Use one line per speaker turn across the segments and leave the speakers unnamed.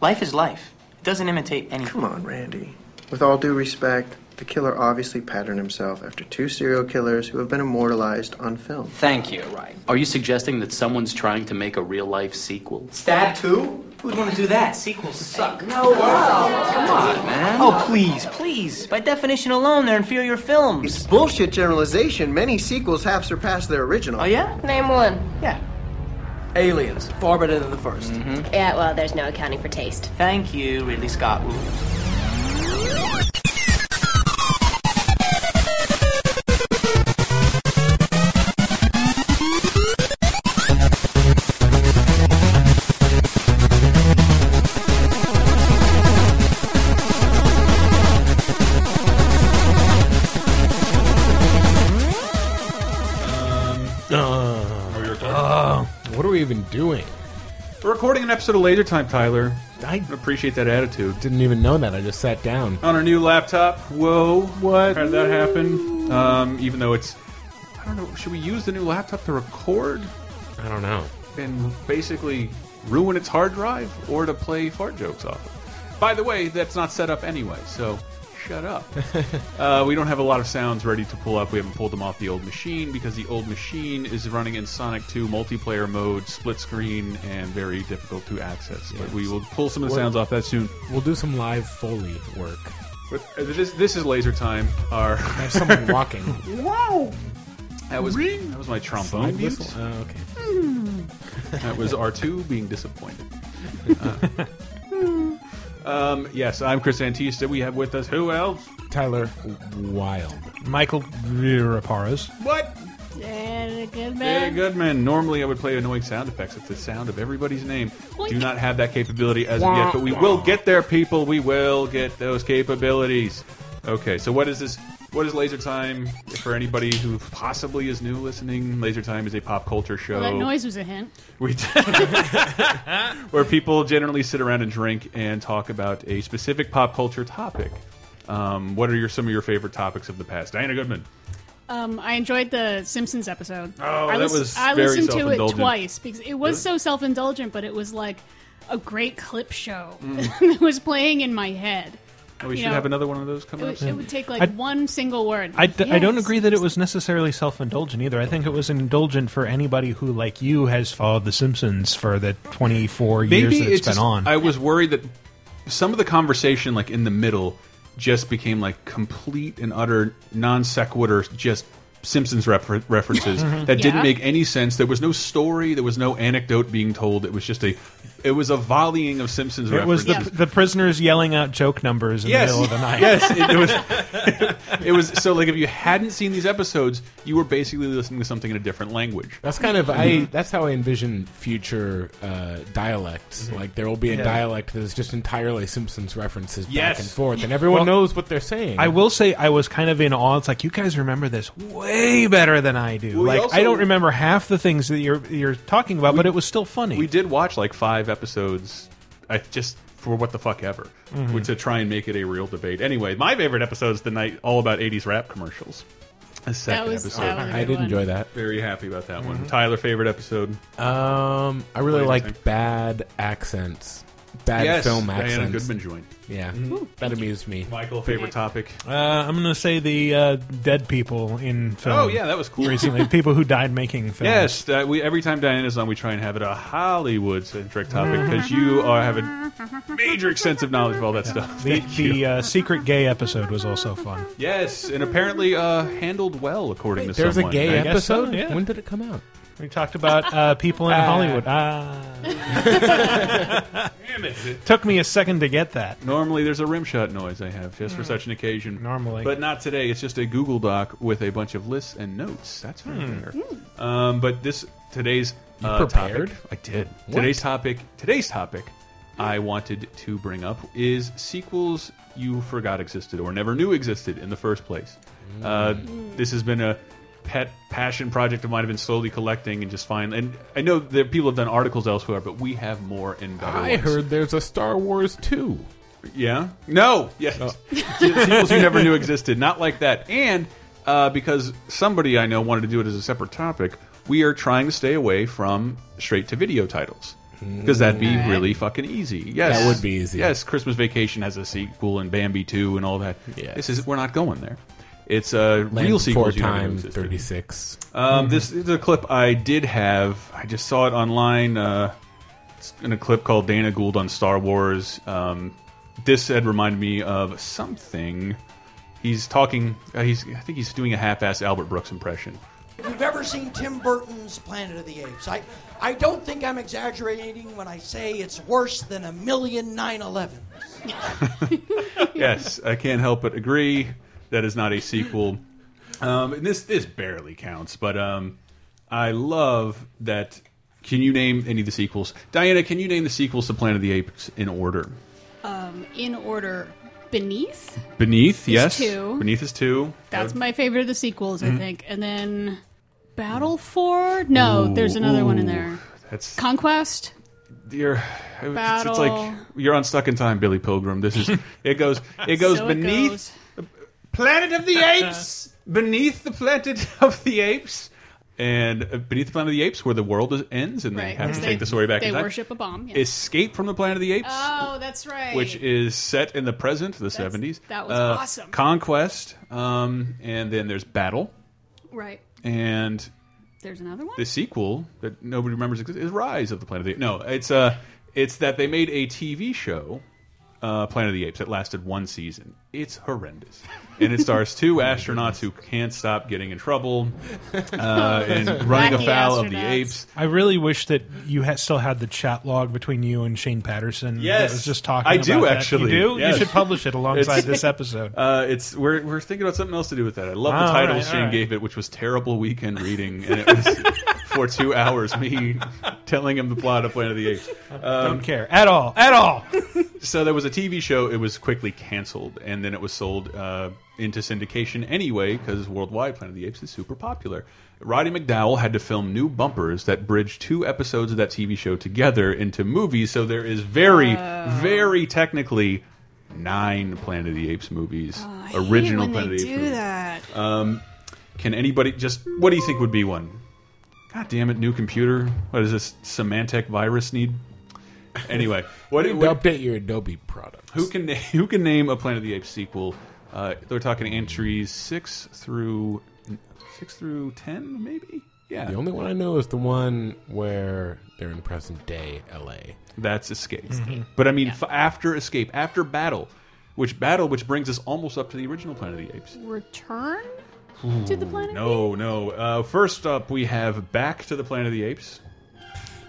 Life is life. It doesn't imitate anything.
Come on, Randy. With all due respect, the killer obviously patterned himself after two serial killers who have been immortalized on film.
Thank you. Right.
Are you suggesting that someone's trying to make a real life sequel?
Stab two?
Who'd want to do that? Sequels suck.
No. Wow. Come on, man.
Oh, please, please. By definition alone, they're inferior films.
It's bullshit generalization. Many sequels have surpassed their original.
Oh, yeah?
Name one.
Yeah.
Aliens. Far better than the 1st
Yeah, well, there's no accounting for taste.
Thank you, Ridley Scott rules.
Oh, you're talking.
What are we even doing?
We're recording an episode of Laser Time, Tyler.
I
Appreciate that attitude.
didn't even know that. I just sat down.
On our new laptop. Whoa.
What?
How did that happen? Um, even though it's. I don't know. Should we use the new laptop to record
I don't know.
and basically ruin its hard drive or to play fart jokes off of? By the way, that's not set up anyway, so shut up. uh, we don't have a lot of sounds ready to pull up. We haven't pulled them off the old machine because the old machine is running in Sonic 2 multiplayer mode, split screen, and very difficult to access. But we will pull some of the
What-
sounds off that soon.
We'll do some live Foley work.
With, uh, this, this is laser time. Our
I have someone walking.
wow. That was that was my trombone
Slide
whistle.
whistle? Oh, okay.
uh, That was R two being disappointed. Uh, um, yes, I'm Chris Antista. We have with us who else?
Tyler Wild.
Michael Raparas.
What? Very good man. Normally, I would play annoying sound effects. It's the sound of everybody's name. Do not have that capability as of yet, but we will get there, people. We will get those capabilities. Okay, so what is this? What is Laser Time for anybody who possibly is new listening? Laser Time is a pop culture show.
That noise was a hint.
We d- where people generally sit around and drink and talk about a specific pop culture topic. Um, what are your some of your favorite topics of the past? Diana Goodman.
Um, I enjoyed the Simpsons episode. Oh,
that
I
was
I
very
listened to it
self-indulgent.
twice because it was so self indulgent, but it was like a great clip show
Mm.
that was playing in my head.
Oh, we
You
should
know,
have another one of those
It
coming up.
would, it would take like
I-
one single word.
I, d- I don't
Yes.
agree that it was necessarily self indulgent either. I think it was indulgent for anybody who, like you, has followed The Simpsons for the 24 years that it's been
just-
on.
I was worried that some of the conversation, like in the middle, just became like complete and utter non sequitur, just Simpsons refer references that didn't
Yeah.
make any sense. There was no story. There was no anecdote being told. It was just a, it was a volleying of Simpsons
it was
references.
the, the prisoners yelling out joke numbers in
Yes.
the middle of the night.
Yes, it, it was. It was so like if you hadn't seen these episodes, you were basically listening to something in a different language.
That's kind of I.
Mm-hmm.
That's how I envision future uh, dialects.
Mm-hmm.
Like there will be a dialect that is just entirely Simpsons references
Yes.
back and forth, and everyone knows what they're saying.
I will say I was kind of in awe. It's like you guys remember this way better than I do.
we
like
also-
I don't remember half the things that you're you're talking about, but it was still funny.
We did watch like five episodes, I just for what the fuck ever,
Mm-hmm.
which to try and make it a real debate. Anyway, my favorite episode is the night all about '80s rap commercials. The second
That was,
episode.
that was a
I
good
did
one.
enjoy that.
Very happy about that
Mm-hmm.
one. Tyler, favorite episode?
Um, I
What do
really
you
liked
think?
bad accents, bad
yes,
film
Diana
accents.
Goodman Mm-hmm. joined.
Yeah, that amused me.
Michael, favorite topic?
Uh, I'm going to say the uh, dead people in film.
Oh yeah, that was cool.
recently, people who died making films.
Yes, uh, we, every time Diana's on, we try and have it a Hollywood-centric topic because you are have a major extensive knowledge of all that stuff.
The,
Thank you.
the uh, secret gay episode was also fun.
yes, and apparently uh, handled well according to
There's a
someone.
gay
I guess so,
episode.
yeah.
When did it come out?
We talked about uh, people in
Ah.
Hollywood. Ah,
Damn it.
took me a second to get that.
Normally, there's a rim shot noise I have just
Hmm.
for such an occasion.
Normally.
but not today. It's just a Google Doc with a bunch of lists and notes. That's very
Hmm.
fair. Um, but this today's uh,
prepared?
topic, I did.
What?
Today's topic. Today's topic. I wanted to bring up is sequels you forgot existed or never knew existed in the first place. Uh,
Hmm.
this has been a pet passion project of mine. I've been slowly collecting and just find. And I know that people have done articles elsewhere, but we have more and better.
I
ones.
heard there's a Star Wars two.
Yeah. No. Yes. Sequels you never knew existed. Not like that. And uh, because somebody I know wanted to do it as a separate topic, we are trying to stay away from straight to video titles. because that'd be really fucking easy.
Mm.
Yes,
That would be easy.
Yes, Christmas Vacation has a sequel and Bambi Two and all that.
Yes.
This is we're not going there. It's a
Land
real sequel.
Four time thirty six.
Um, This is a clip I did have. I just saw it online uh, it's in a clip called Dana Gould on Star Wars. Um, this had reminded me of something. He's talking. Uh, he's. I think he's doing a half-ass Albert Brooks impression.
If you've ever seen Tim Burton's Planet of the Apes, I, I don't think I'm exaggerating when I say it's worse than a million 9 11.
yes, I can't help but agree that is not a sequel. Um, and this this barely counts, but um, I love that. Can you name any of the sequels, Diana? Can you name the sequels to Planet of the Apes in order?
Um, in order beneath
Beneath, yes.
two.
Beneath is two.
that's my favorite of the sequels
Mm.
i think and then battle for no there's another one in there
That's
conquest
you're. It's, it's like
Battle.
you're unstuck in time, Billy Pilgrim. This is it goes it goes
So it
beneath
goes.
Planet of the Apes, beneath the Planet of the Apes, and uh, beneath the Planet of the Apes, where the world is, ends, and they
Right,
have to
'cause
take the story back
they
in time.
worship a bomb yeah.
Escape from the Planet of the Apes,
oh that's right
which is set in the present, the seventies. Uh,
that was awesome.
Conquest, um, and then there's Battle,
right
and
there's another one
the sequel that nobody remembers exists is Rise of the Planet of the Apes. No, it's uh, it's that they made a TV show, uh, Planet of the Apes, that lasted one season. It's horrendous, and it stars two
Oh
astronauts who can't stop getting in trouble uh, and running
Wacky
afoul of the
astronauts.
apes.
I really wish that you ha- still had the chat log between you and Shane Patterson.
Yes.
that was just talking.
I
about
do,
that.
actually.
You do.
Yes.
You should publish it alongside
It's-
this episode.
Uh, it's we're we're thinking about something else to do with that. I love
Oh,
the
all
title
right,
Shane
all right.
gave it, which was terrible weekend reading, and it was for two hours me telling him the plot of Planet of the Apes. Um,
Don't care at all. At all.
so there was a TV show. It was quickly canceled, and then it was sold uh, into syndication anyway because worldwide, Planet of the Apes is super popular. Roddy McDowell had to film new bumpers that bridged two episodes of that TV show together into movies. So there is very, very technically nine Planet of the Apes movies, original
Oh,
Uh,
I
Planet
hate when they
of the Apes.
do
movies.
that
Can anybody just what do you think would be one? God damn it, new computer. What does this Symantec virus need? Anyway, what,
They
what
update your Adobe products.
who can who can name a Planet of the Apes sequel? Uh, they're talking entries six through six through ten, maybe.
The
Yeah,
only one I know is the one where they're in present day L.A.
that's Escape.
Mm-hmm.
But I mean, f after Escape, after Battle, which Battle, which brings us almost up to the original Planet of the Apes.
return to the planet
No, no. Uh, first up, we have Back to the Planet of the Apes,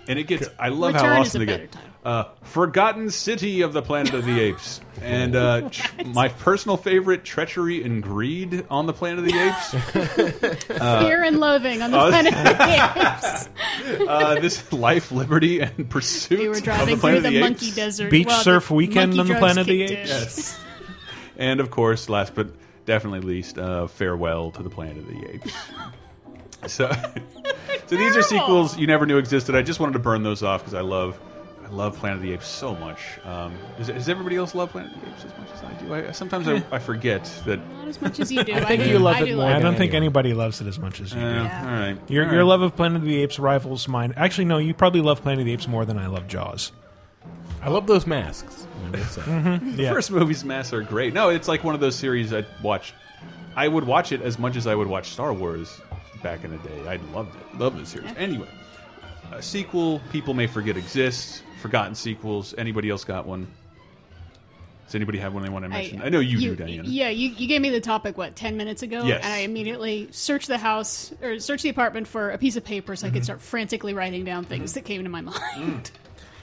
and it gets. I love
Return
how
is
awesome
a
they
better
get.
title.
Uh, Forgotten City of the Planet of the Apes, and uh, tr- my personal favorite, Treachery and Greed on the Planet of the Apes.
fear and loathing
Oh.
on the planet of the apes
uh, this life, liberty, and pursuit.
we were
of
driving
the Planet
through
of the
the, monkey
Apes.
desert
Beach
Well,
surf
the
weekend
monkey
on the
drugs
Planet of the
kicked
Apes?
in.
Yes. and of course, last but definitely least, uh, farewell to the Planet of the Apes. so, so these are sequels you never knew existed. I just wanted to burn those off because I love. I love Planet of the Apes so much. Um, does, does everybody else love Planet of the Apes as much as I do? I, sometimes I, I forget that.
Not as much as you do. I
think
do-
you love
I
it
do
more
I
Like
don't
Anyway.
think anybody loves it as much as you
uh,
do.
All right.
Your, your love of Planet of the Apes rivals mine. Actually, no, you probably love Planet of the Apes more than I love Jaws.
I love those masks. I will say.
Mm-hmm.
Yeah.
first movies mass are great. No, it's like one of those series I watched. I would watch it as much as I would watch Star Wars back in the day. I loved it. Loved the series. Anyway, a sequel people may forget exists. Forgotten sequels. Anybody else got one? Does anybody have one they want to mention? I, know you, do, Diana.
Yeah, you, you gave me the topic, what, 10 minutes ago?
Yes.
And I immediately searched the house or searched the apartment for a piece of paper so I
Mm-hmm.
could start frantically writing down things that came to my mind.
Mm.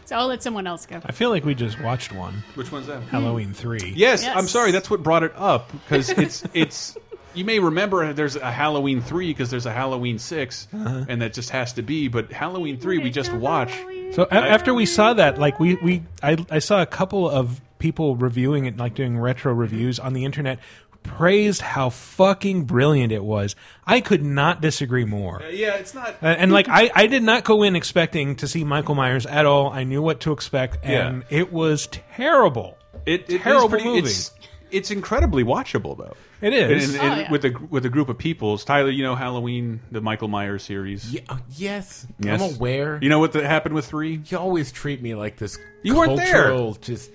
so I'll let someone else go.
I feel like we just watched one,
Which one's that?
Halloween 3.
Yes,
Yes.
I'm sorry. That's what brought it up because it's it's. You may remember there's a Halloween three because there's a Halloween 6 and that just has to be. But Halloween three we just watched.
So a- after we saw that, like we, we I, I saw a couple of people reviewing it, like doing retro reviews on the internet, praised how fucking brilliant it was. I could not disagree more.
Yeah, it's not.
Uh, and like I, I did not go in expecting to see Michael Myers at all. I knew what to expect, and it was terrible.
It, it is
Terrible
pretty,
movie.
It's It's incredibly watchable, though.
It is.
And- and- and
Oh, yeah.
with a with a group of peoples. Tyler, you know Halloween, the Michael Myers series.
Yeah, uh, yes,
Yes.
I'm aware.
You know what that happened with three?
you always treat me like this.
You weren't there.
cultural Just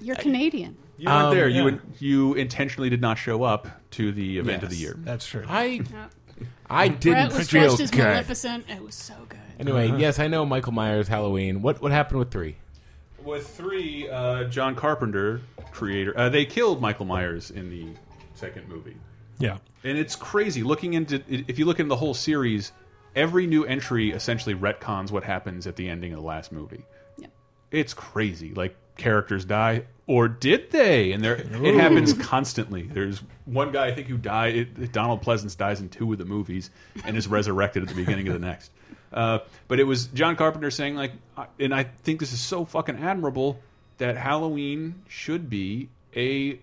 You're Canadian.
You weren't
Um,
there. You
yeah.
in- you intentionally did not show up to the event of the
Yes.
year.
That's true.
I,
Yeah.
I
Brett
didn't
was
feel
dressed as
good.
Maleficent. It was so good.
Anyway, yes, I know Michael Myers Halloween. What what happened with three?
With three, uh, John Carpenter creator, uh, they killed Michael Myers in the second movie,
yeah.
and it's crazy. Looking into if you look into the whole series, every new entry essentially retcons what happens at the ending of the last movie.
Yeah.
It's crazy. Like characters die, or did they? And there, it happens constantly. There's one guy I think who died. It, Donald Pleasance dies in two of the movies, and is resurrected at the beginning of the next. Uh, but it was John Carpenter saying like, I- and I think this is so fucking admirable that Halloween should be a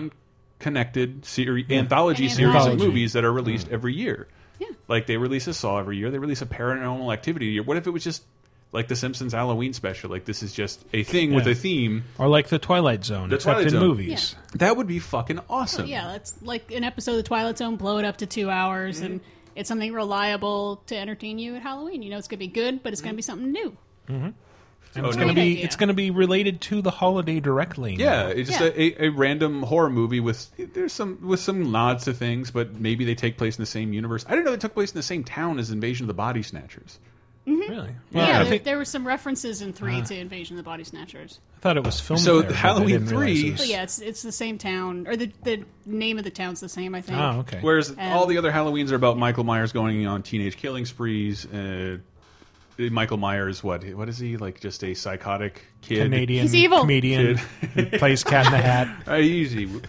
non-connected series anthology
An
series of
anthology.
movies that are released every year.
Hmm. Yeah.
Like they release a Saw every year. They release a Paranormal Activity year. What if it was just like the Simpsons Halloween special? Like this is just a thing with
Yeah.
a theme.
Or like the Twilight Zone,
The
except
Twilight
in
Zone.
movies.
That would be fucking awesome.
Yeah, that's like an episode of The Twilight Zone. Blow it up to two hours,
Mm-hmm.
and it's something reliable to entertain you at Halloween. You know, it's going to be good, but it's
Mm-hmm.
going to be something new.
And it's
Oh, no.
going
Great
to be
idea.
it's going to be related to the holiday directly.
Yeah, it's just
Yeah.
A, a, a random horror movie with there's some with some nods to things, but maybe they take place in the same universe. I didn't know they took place in the same town as Invasion of the Body Snatchers.
really.
Yeah,
Well, I
there,
think
there were some references in
Uh.
three to Invasion of the Body Snatchers.
I thought it was filmed.
So
there, but I
Halloween
didn't realize
three-
it was-
But Oh, yeah, it's it's the same town, or the the name of the town's the same. I think.
Oh, okay.
Whereas all the
Um,
other Halloweens are about Michael Myers going on teenage killing sprees. Uh, Michael Myers, what what is he like? Just a psychotic kid.
Canadian
He's evil.
comedian who plays Cat in the Hat.
Uh, he's evil.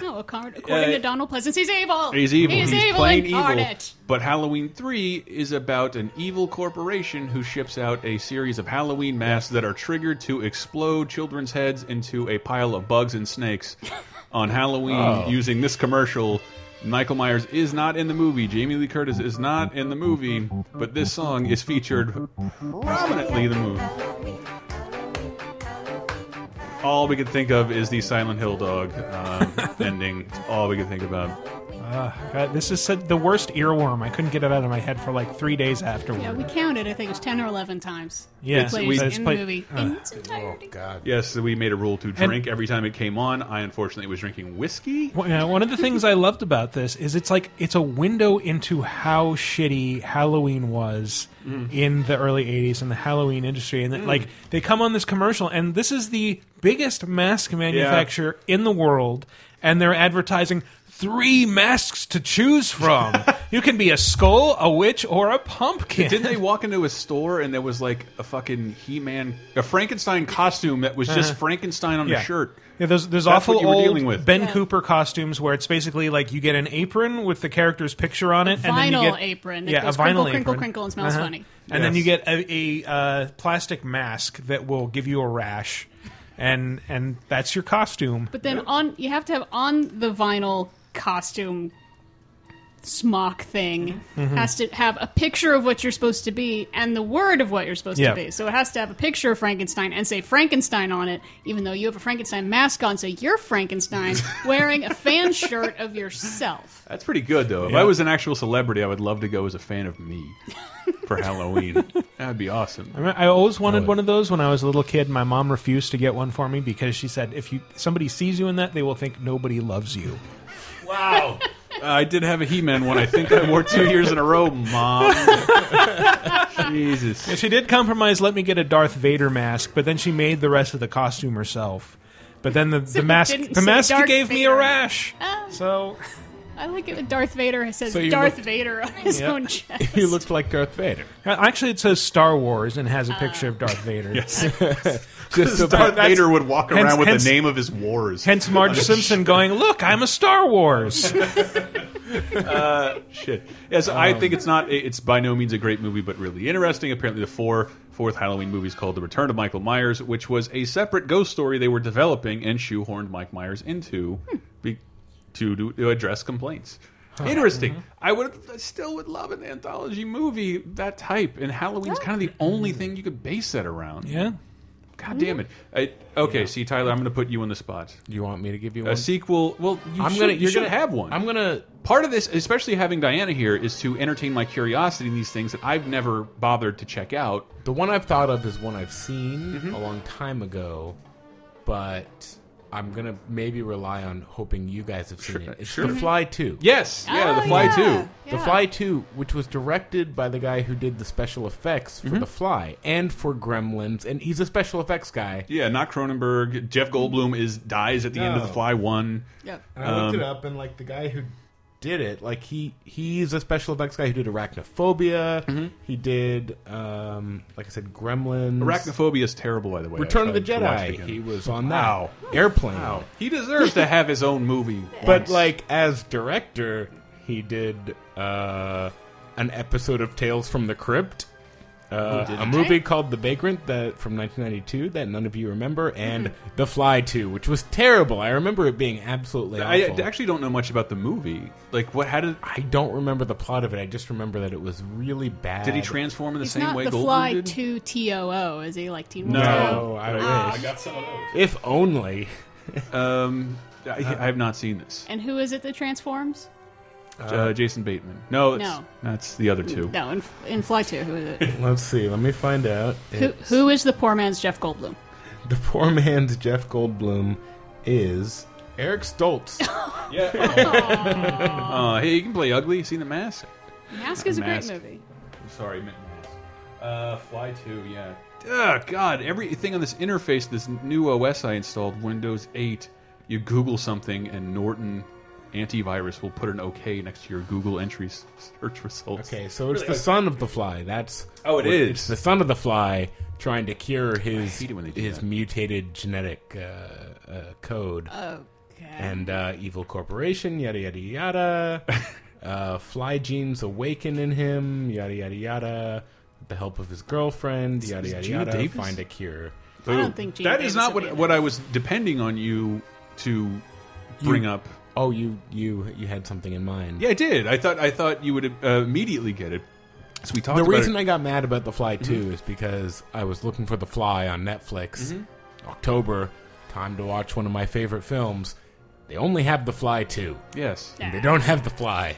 No, according, according to Donald Pleasance, he's evil.
He's evil.
He's,
He's,
evil
plain
incarnate.
evil. But Halloween three is about an evil corporation who ships out a series of Halloween masks that are triggered to explode children's heads into a pile of bugs and snakes on Halloween using this commercial. Michael Myers is not in the movie. Jamie Lee Curtis is not in the movie, but this song is featured prominently in the movie. All we could think of is the Silent Hill dog um, ending. It's all we could think about.
God, Uh, this is such- the worst earworm. I couldn't get it out of my head for like three days afterward.
Yeah, we counted. I think it was ten or eleven times.
Yeah,
it
so
plays
we-
in
it's uh,
the
played-
movie in its entirety.
God,
Yes, we made a rule to drink every time it came on. I unfortunately was drinking whiskey.
Well, yeah, one of the things I loved about this is it's like it's a window into how shitty Halloween was in the early 80s in the Halloween industry and that, like they come on this commercial and this is the biggest mask manufacturer in the world and they're advertising three masks to choose from. you can be a skull, a witch or a pumpkin.
Didn't they walk into a store and there was like a fucking He-Man, a Frankenstein costume that was just Frankenstein on a shirt?
Uh-huh. Yeah, there's there's
That's
awful
what you were
old
dealing with.
Ben Cooper costumes where it's basically like you get an apron with the character's picture on it, and then you
vinyl
get
apron that
Yeah,
goes
a vinyl
crinkle,
apron.
crinkle, crinkle, and smells
Uh-huh.
funny.
And then
Yes.
you get a, a uh, plastic mask that will give you a rash, and and that's your costume.
But then on you have to have on the vinyl costume smock thing Mm-hmm. has to have a picture of what you're supposed to be and the word of what you're supposed
Yeah.
to be. So it has to have a picture of Frankenstein and say Frankenstein on it, even though you have a Frankenstein mask on, so you're Frankenstein wearing a fan shirt of yourself.
That's pretty good though. If I was an actual celebrity, I would love to go as a fan of me for Halloween. that would be awesome.
I mean, I always wanted one of those when I was a little kid. My mom refused to get one for me because she said if you somebody sees you in that, they will think nobody loves you.
Wow. Uh, I did have a He-Man one. I think I wore two years in a row, Mom. Jesus.
She did compromise, let me get a Darth Vader mask, but then she made the rest of the costume herself. But then the, the
it
mask
didn't
the
say
mask
Darth
gave me a
Vader. Ah.
rash. So
I like it when Darth Vader says
So you
Darth
looked-
Vader on his
Yep.
own chest.
you looked like Darth Vader.
actually it says Star Wars and
Ah.
has a picture of Darth Vader.
Just so
Darth
bad-
Vader would walk around
hence-
with
hence-
the name of his wars.
Hence Marge Simpson going, Look, I'm a Star Wars.
Shit. Yes, I
Um,
think it's not. It's by no means a great movie, but really interesting. Apparently, the four fourth Halloween movie is called The Return of Michael Myers, which was a separate ghost story they were developing and shoehorned Mike Myers into,
Hmm.
be, to, do- to address complaints. Interesting.
Mm-hmm.
I would I still would love an
Hmm.
anthology movie that type, and Halloween's kind of the only thing you could base that around.
yeah.
God damn it! I, okay, see, Tyler, I'm going to put you on the spot.
You want me to give you
A
one?
sequel? Well, Uh, you
I'm
should,
gonna-
you
you're
should
gonna-
have one.
I'm gonna.
Part of this, especially having Diana here, is to entertain my curiosity in these things that I've never bothered to check out.
The one I've thought of is one I've seen
Mm-hmm.
a long time ago, but I'm gonna maybe rely on hoping you guys have seen
Sure,
it. It's
sure.
The Fly Two.
Yes, yeah,
Oh,
The Fly
yeah.
too.
The
Yeah.
Fly 2, which was directed by the guy who did the special effects
Mm-hmm.
for The Fly and for Gremlins, and he's a special effects guy.
Yeah, not Cronenberg. Jeff Goldblum is dies at the end of The
No.
Fly One.
Yep.
And I looked it
Um,
up, and like the guy who did it, like he he's a special effects guy who did Arachnophobia.
Mm-hmm.
He did, um, like I said, Gremlins,
Arachnophobia is terrible, by the way.
Return of the
I tried to watch it
Jedi.
again.
He was on that airplane,
He deserves to have his own movie.
but
once.
like as director, he did uh, an episode of Tales from the Crypt.
Oh,
Uh, a movie called The Vagrant that from 1992 that none of you remember, and
Mm-hmm.
The Fly 2, which was terrible. I remember it being absolutely
I
awful.
actually don't know much about the movie. Like, what? How did
I don't remember the plot of it. I just remember that it was really bad.
did he transform in the
He's
same
not
way
the
Goldblum
fly
did?
two T O O, is he like Teen
No.
Wolf?
No, I wish.
Oh, some of those.
If only.
Um, I,
Uh,
I have not seen this.
And who is it that transforms?
Uh, Jason Bateman. No, it's,
No.
that's the other two.
No, in, in Fly Two, who is it?
Let's see. Let me find out.
who, who is the poor man's Jeff Goldblum?
The poor man's Jeff Goldblum is Eric Stoltz.
Uh, hey, you can play ugly. Seen the mask?
Mask is a great
Mask.
movie.
I'm sorry, I meant mask. Uh, Fly Two. Yeah. Ugh, Ah, God, everything on this interface, this new OS I installed, Windows 8. You Google something, and Norton antivirus will put an OK next to your Google entry s- search results.
Okay, so it's the son of the fly. That's
Oh, it
what-
is.
It's the son of the fly trying to cure his
hate it when they do
his
that.
mutated genetic uh, uh, code
Okay.
and uh, evil corporation. Yada yada yada. uh, fly genes awaken in him. Yada yada yada. With the help of his girlfriend. Yada
is
yada
Gina
yada.
Davis?
Find a cure.
I don't think Gene
that
Davis
is not
would
what
be
what I was depending on you to bring up.
Oh, you you you had something in mind.
Yeah, I did. I thought I thought you would uh, immediately get it. So we talked
The
about
reason
it.
I got mad about The Fly 2 is because I was looking for The Fly on Netflix.
Mm-hmm.
October, time to watch one of my favorite films. They only have The Fly 2.
yes.
And they don't have The Fly.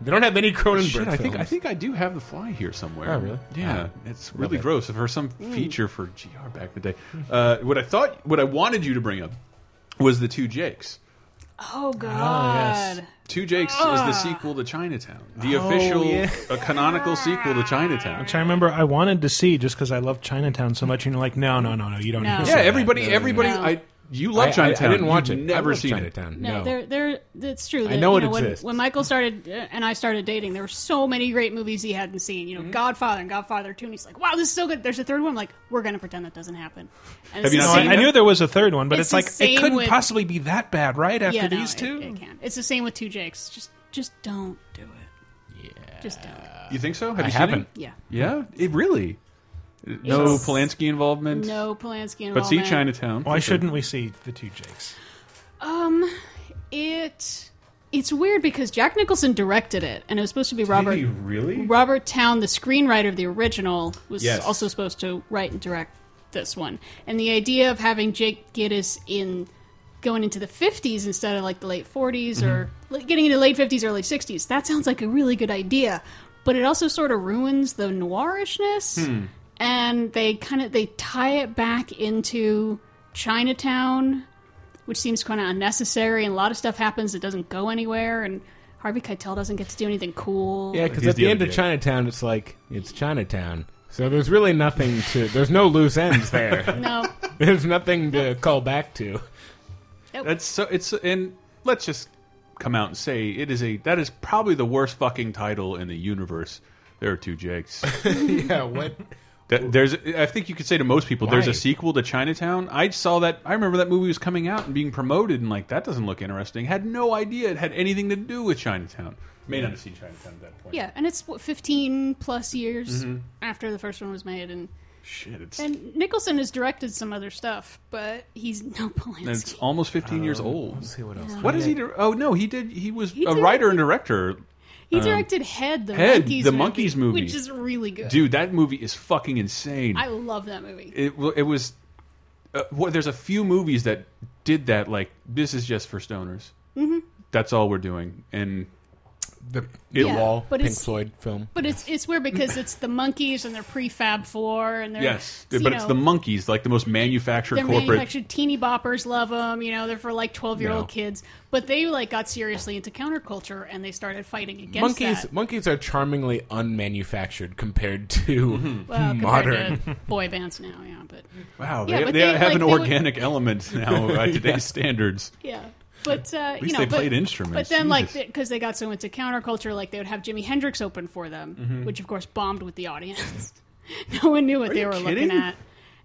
They don't have any Cronenberg
Shit, I think I
films.
think I do have the fly here somewhere.
Oh, really?
Yeah,
Uh,
it's really
okay.
gross. For some
Hmm.
feature for GR back in the day, uh, what I thought, what I wanted you to bring up was the two Jakes.
Oh God.
Two Jakes is
Ah.
the sequel to Chinatown, the official,
Oh, yeah.
a canonical sequel to Chinatown.
Which I remember I wanted to see just because I love Chinatown so much, and you're like, no, no, no, no, you don't.
No.
Need to
yeah,
see
everybody,
No, no,
everybody,
no.
I you
I-
love
I-
Chinatown.
I, didn't watch
You've
it.
Never
I love
seen
Chinatown.
No,
No.
they're they're. It's true.
I
that,
know
you
it
when-
exists.
When, Michael started uh, and I started dating, there were so many great movies he hadn't seen. You know, Godfather and Godfather Two. And he's like, "Wow, this is so good." There's a third one. I'm like, we're gonna pretend that doesn't happen. And
Have you
it's
No,
not
the
I,
same-
I knew there was a third one, but
It's
it's,
the
like
same
it couldn't
with-
possibly be that bad, right? After
yeah, no,
these
it-
two,
it can. It's the same with Two Jakes. Just just don't do it. Yeah. Just don't.
You think so? Have
I
you seen
haven't.
it?
Yeah.
Yeah, it really. No
It's-
Polanski involvement.
No Polanski involvement.
But see Chinatown.
why shouldn't we see the two Jakes?
Um, it it's weird because Jack Nicholson directed it, and it was supposed to be Robert
really?
Robert Town, the screenwriter of the original, was
Yes.
also supposed to write and direct this one. And the idea of having Jake Gittes in going into the 50s instead of like the late 40s or like, getting into late 50s early 60s that sounds like a really good idea but it also sort of ruins the noirishness and they kind of they tie it back into chinatown which seems kind of unnecessary and a lot of stuff happens that doesn't go anywhere and harvey keitel doesn't get to do anything cool
Yeah, because
He's
at the,
the
end of
other Jake.
Chinatown, it's like, it's Chinatown. So there's really nothing to. There's no loose ends there.
no
there's nothing to call back to.
That's so. It's and let's just come out and say it is a. That is probably the worst fucking title in the universe. There are two Jakes.
yeah, what?
That- there's. I think you could say to most people, there's
Why?
a sequel to Chinatown. I saw that. I remember that movie was coming out and being promoted, and like that doesn't look interesting. Had no idea it had anything to do with Chinatown. May not have seen Chinatown at that point.
Yeah, and it's what, 15 plus years after the first one was made, and
Mm-hmm. Shit. It's
and Nicholson has directed some other stuff, but he's no Polanski.
it's almost 15 years old.
Um, see what else.
What is he? dir- Oh no, he did. He was a
did-
writer and director.
he directed Head, the
um, Head,
monkeys,
the
movie,
Monkeys movie.
which is really good.
Dude, that movie is fucking insane.
I love that movie.
it w- it was uh, well, there's a few movies that did that. Like this is just for stoners.
Mhm.
That's all we're doing, and
the
It-
The Wall,
but
Pink
it's-
Floyd film.
But it's it's weird because it's the monkeys and their prefab floor and their
yes,
you
but it's
know,
the monkeys, like the most manufactured
They're
corporate.
manufactured teeny boppers love them, you know. They're for like twelve year
No.
old kids, but they like got seriously into counterculture and they started fighting against
monkeys
that.
monkeys are charmingly unmanufactured compared to
Mm-hmm.
Well,
modern.
compared to boy bands now, yeah, but
wow,
Yeah,
they,
but
they
they-
have
like,
an
they would-
organic element now by today's standards.
Yeah, but uh,
At
you
least
know,
they
but,
played instruments.
But then, like,
Jesus.
because they got so into counterculture, like they would have Jimi Hendrix open for them,
Mhm.
which of course bombed with the audience. no one knew what
Are
they
you
were
kidding?
looking at.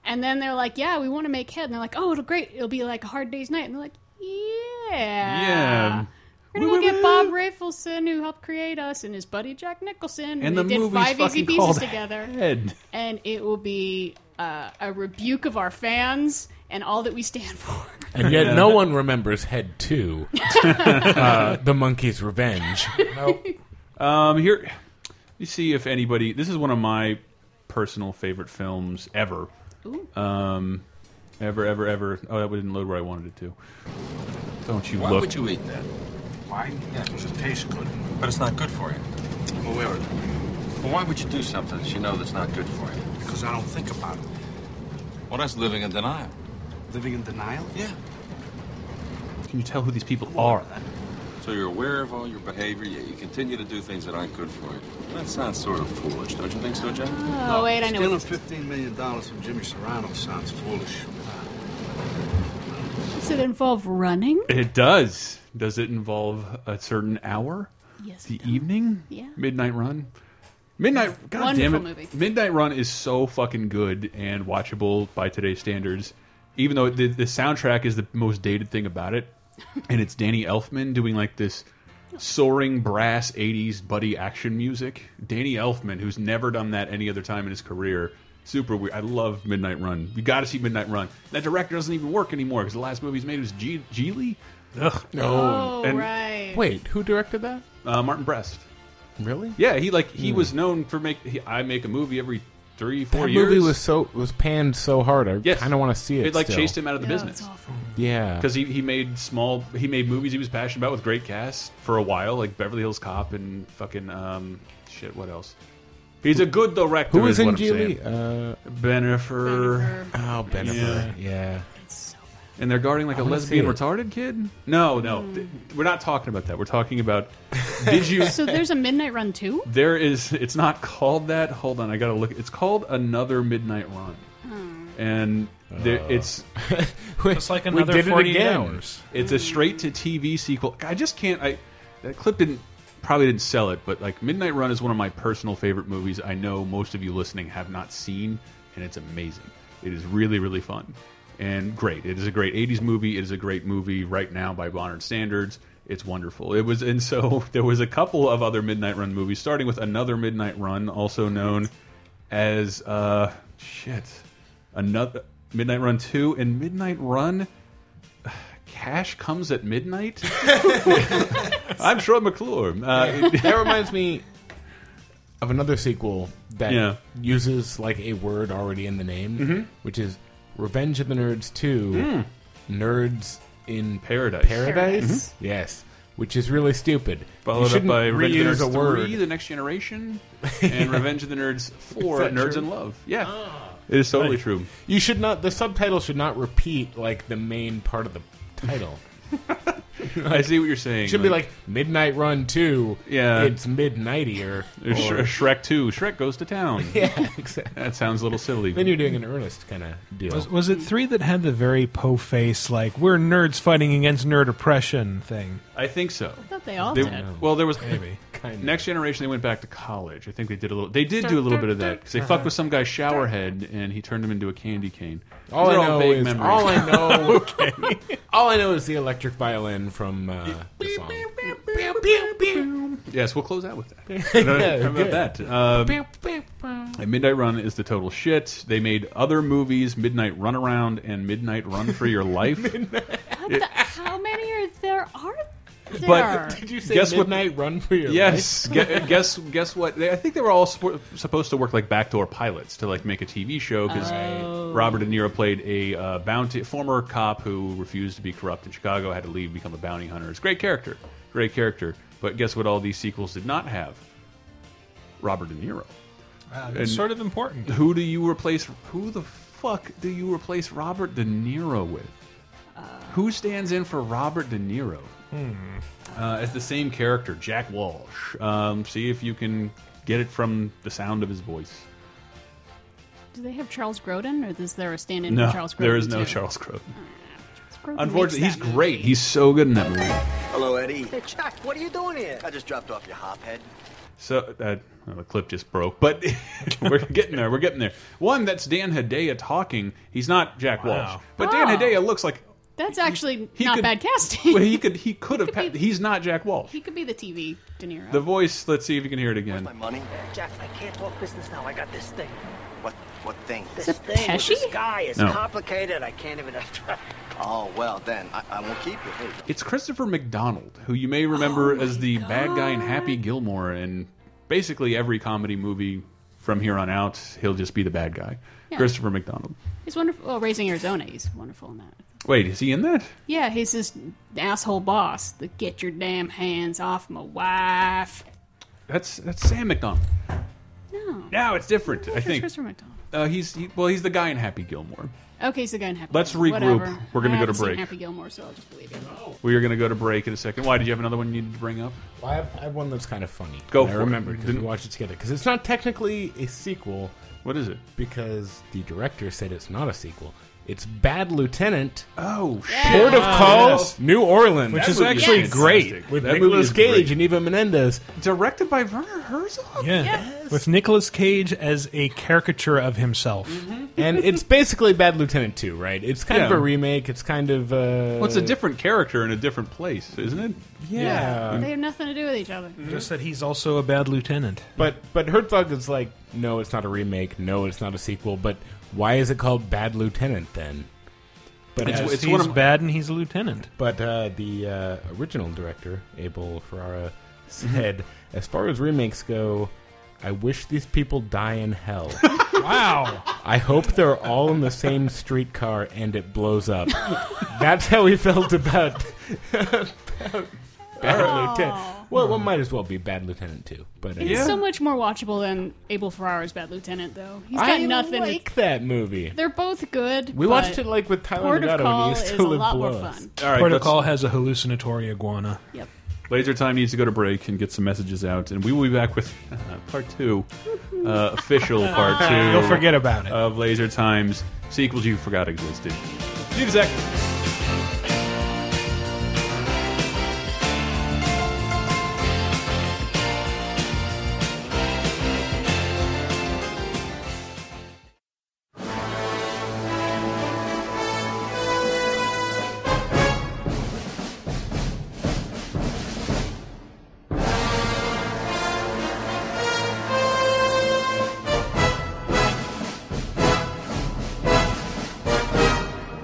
And then they're like, "Yeah, we want to make hit," and they're like, "Oh, it'll great. It'll be like a hard day's night." And they're like, "Yeah,
Yeah.
We're gonna go get Bob Rafelson, who helped create us, and his buddy Jack Nicholson,
And
they
the
did
movie's
five easy
fucking
pieces
called
together,
Head.
and it will be uh, a rebuke of our fans and all that we stand for."
and yet no one remembers head 2 uh, the monkey's revenge
Um, here, you see if anybody. This is one of my personal favorite films ever.
Ooh.
Um, ever, ever, ever. Oh, that didn't load where I wanted it to. Don't you
Why
look?
would you eat that? Why? Yeah, because it tastes good. But it's not good for you. I'm aware of that. Well, why would you do something that you know that's not good for you? Because I don't think about it. Well, that's living in denial. Living in denial? Yeah.
Can you tell who these people are?
So you're aware of all your behavior, yet you continue to do things that aren't good for you. That sounds sort of foolish, don't you think so, Jack?
Oh, wait, I know what
Stealing fifteen million dollars from Jimmy Serrano sounds foolish.
Does it involve running?
It does. Does it involve a certain hour?
Yes,
The evening?
Yeah.
Midnight Run? Midnight. God
Wonderful
damn it.
movie.
Midnight Run is so fucking good and watchable by today's standards. Even though the, the soundtrack is the most dated thing about it, and it's Danny Elfman doing like this soaring brass 80s buddy action music. Danny Elfman, who's never done that any other time in his career. Super weird. I love Midnight Run. You got to see Midnight Run. That director doesn't even work anymore because the last movie he's made was G- Geely.
Ugh,
Oh,
And-
right.
wait who directed that
Uh, Martin Brest.
really
Yeah, he like he was known for make. He, I make a movie every three four
Hmm. that
years.
movie was so was panned so hard i
Yes.
kind of want to see it
it like
still.
chased him out of the business
yeah
because he, he made small he made movies he was passionate about with great casts for a while like Beverly Hills Cop and fucking um shit what else. He's a good director.
who was
is
in
what I'm saying.
Geely? Uh,
Benifer.
oh Bennifer. yeah,
And they're guarding like
I
a
wanna
lesbian
see it.
retarded kid? No, no. Th- We're not talking about that. We're talking about did you
So there's a midnight run too.
There is. It's not called that. Hold on, I gotta look. It's called another Midnight Run, and there, it's
It's like another
did it
48
again.
hours.
it's a straight to TV sequel. I just can't. I that clip didn't probably didn't sell it, but like Midnight Run is one of my personal favorite movies. I know most of you listening have not seen, and it's amazing. It is really really fun and great. It is a great '80s movie. It is a great movie right now by modern standards. It's wonderful. It was and so there was a couple of other Midnight Run movies, starting with another Midnight Run, also known as uh shit, another Midnight Run two and Midnight Run. Cash comes at midnight. I'm Troy McClure. Uh,
that reminds me of another sequel that
Yeah. Mm-hmm.
uses like a word already in the name, which is Revenge of the Nerds Two, Nerds in
Mm. Paradise. Mm-hmm.
Paradise. Yes, which is really stupid. you
Followed up
shouldn't
by
reuse
Revenge of the
a
Nerds
word.
3, The Next Generation, and Revenge of the Nerds 4,
Is that
Nerds
true?
in Love. Yeah. Ah. It is totally true.
You should not. The subtitle should not repeat like the main part of the title.
I see what you're saying.
It should be like Midnight Run Two.
Yeah.
it's midnightier.
Sh-
or-
Shrek 2, Shrek Goes to Town.
yeah, exactly.
That sounds a little silly.
Then you're doing an earnest kind of deal.
Was, was it three that had the very po face, like we're nerds fighting against nerd oppression thing?
I think so.
I thought they all
They-
did.
well, there was
Kind of.
Next Generation. They went back to college. I think they did a little. They did do a little bit of that because they fucked with some guy's shower head and he turned him into a candy cane.
All I
These are
know
vague
is
memories.
all I know. okay. All I know is the electric violin from uh, the song.
Yes, we'll close out with that. How about that? Um, and Midnight Run is the total shit. They made other movies, Midnight Runaround and Midnight Run for Your Life.
How many are there? Are there?
But-
Did you say
Guess what-
Midnight Run for Your Life?
yes, gue- guess
Oh.
guess what? They, I think they were all spo- supposed to work like backdoor pilots to like make a TV show because Robert De Niro played a uh, bounty former cop who refused to be corrupt in Chicago, had to leave, become a bounty hunter. It's a great character, great character. But guess what? All these sequels did not have Robert De Niro.
Wow, that's Uh, sort of important.
Who do you replace? Who the fuck do you replace Robert De Niro with?
Uh,
who stands in for Robert De Niro?
Hmm.
uh, as the same character, Jack Walsh. Um, see if you can get it from the sound of his voice.
Do they have Charles Grodin, or is there a stand-in
no,
for Charles Grodin?
there is no
too?
Charles Croton.
Charles Grodin
Unfortunately,
makes
he's great. He's so good in that movie.
Hello, Eddie. Hey, Jack, what are you doing here? I just dropped off your hophead.
So uh, well, the clip just broke, but we're getting there. We're getting there. One that's Dan Hedaya talking. He's not Jack Walsh, but Dan
Oh.
Hedaya looks like
that. That's actually
he
not
could-
bad casting.
well, he could he could have. pa- he's not Jack Walsh.
He could be the TV De Niro.
The voice. Let's see if you can hear it again.
Money? Jack, I can't talk business now. I got this thing. What what thing?
Is it thing with Pesci? this
guy
is No.
complicated. I can't even. oh, well, then. I, I won't keep you. Hey,
It's Christopher McDonald, who you may
Oh
remember as the bad guy in Happy Gilmore, and basically every comedy movie from here on out, he'll just be the bad guy.
Yeah.
Christopher McDonald.
He's wonderful. Well, Raising Arizona, he's wonderful in that.
Wait, is he in that?
Yeah, he's this asshole boss. The get your damn hands off my wife.
That's that's Sam McDonald.
No.
Now it's different. I
It's
think.
Christopher McDonald.
Uh, he's he, well, he's the guy in Happy Gilmore.
Okay, he's the guy in Happy.
Let's
Gilmore.
regroup.
Whatever.
We're gonna
I
go to
haven't seen
break.
Happy Gilmore, so I'll just believe it.
We are going to go to break in a second. Why did you have another one you needed to bring up?
Well, I, have, I have one that's kind of funny.
Go
I
for it.
remember because we
Didn't-
watched it together. Because it's not technically a sequel.
What is it?
Because the director said it's not a sequel. It's Bad Lieutenant.
Oh,
Port of Call, New Orleans,
Which is actually great
with
with Nicolas
Nicolas Cage
Cage
and Eva Menendez.
Directed by Werner Herzog.
Yeah. With Nicolas Cage as a caricature of himself.
and it's basically Bad Lieutenant 2, right? It's kind of
Yeah.
a remake. It's kind of. Uh,
Well, it's a different character in a different place, isn't it?
Yeah.
They have nothing to do with each other.
Just that he's also a bad lieutenant.
But but Herzog is like, no, it's not a remake. No, it's not a sequel. But why is it called Bad Lieutenant then? But
It's-
as
it's one of He's my- bad and he's a lieutenant.
But uh, the uh, original director Abel Ferrara said, as far as remakes go, I wish these people die in hell.
wow.
I hope they're all in the same streetcar and it blows up. That's how he felt about Bad
Oh.
Lieutenant. Well, it might as well be Bad Lieutenant too. But uh,
It's so much more watchable than Abel Ferrara's Bad Lieutenant, though. He's got
I
nothing. to-
like that movie.
They're both good.
We
but
watched it like with Tyler
Port of
Legato when he
Call
used to
is a
live
lot more
below us.
fun.
All right,
Protocol
let's-
has a hallucinatory iguana.
Yep.
Laser Time needs to go to break and get some messages out, and we will be back with part two, uh, official part two.
You'll forget about it.
Of Laser Time's sequels you forgot existed. See you in a sec.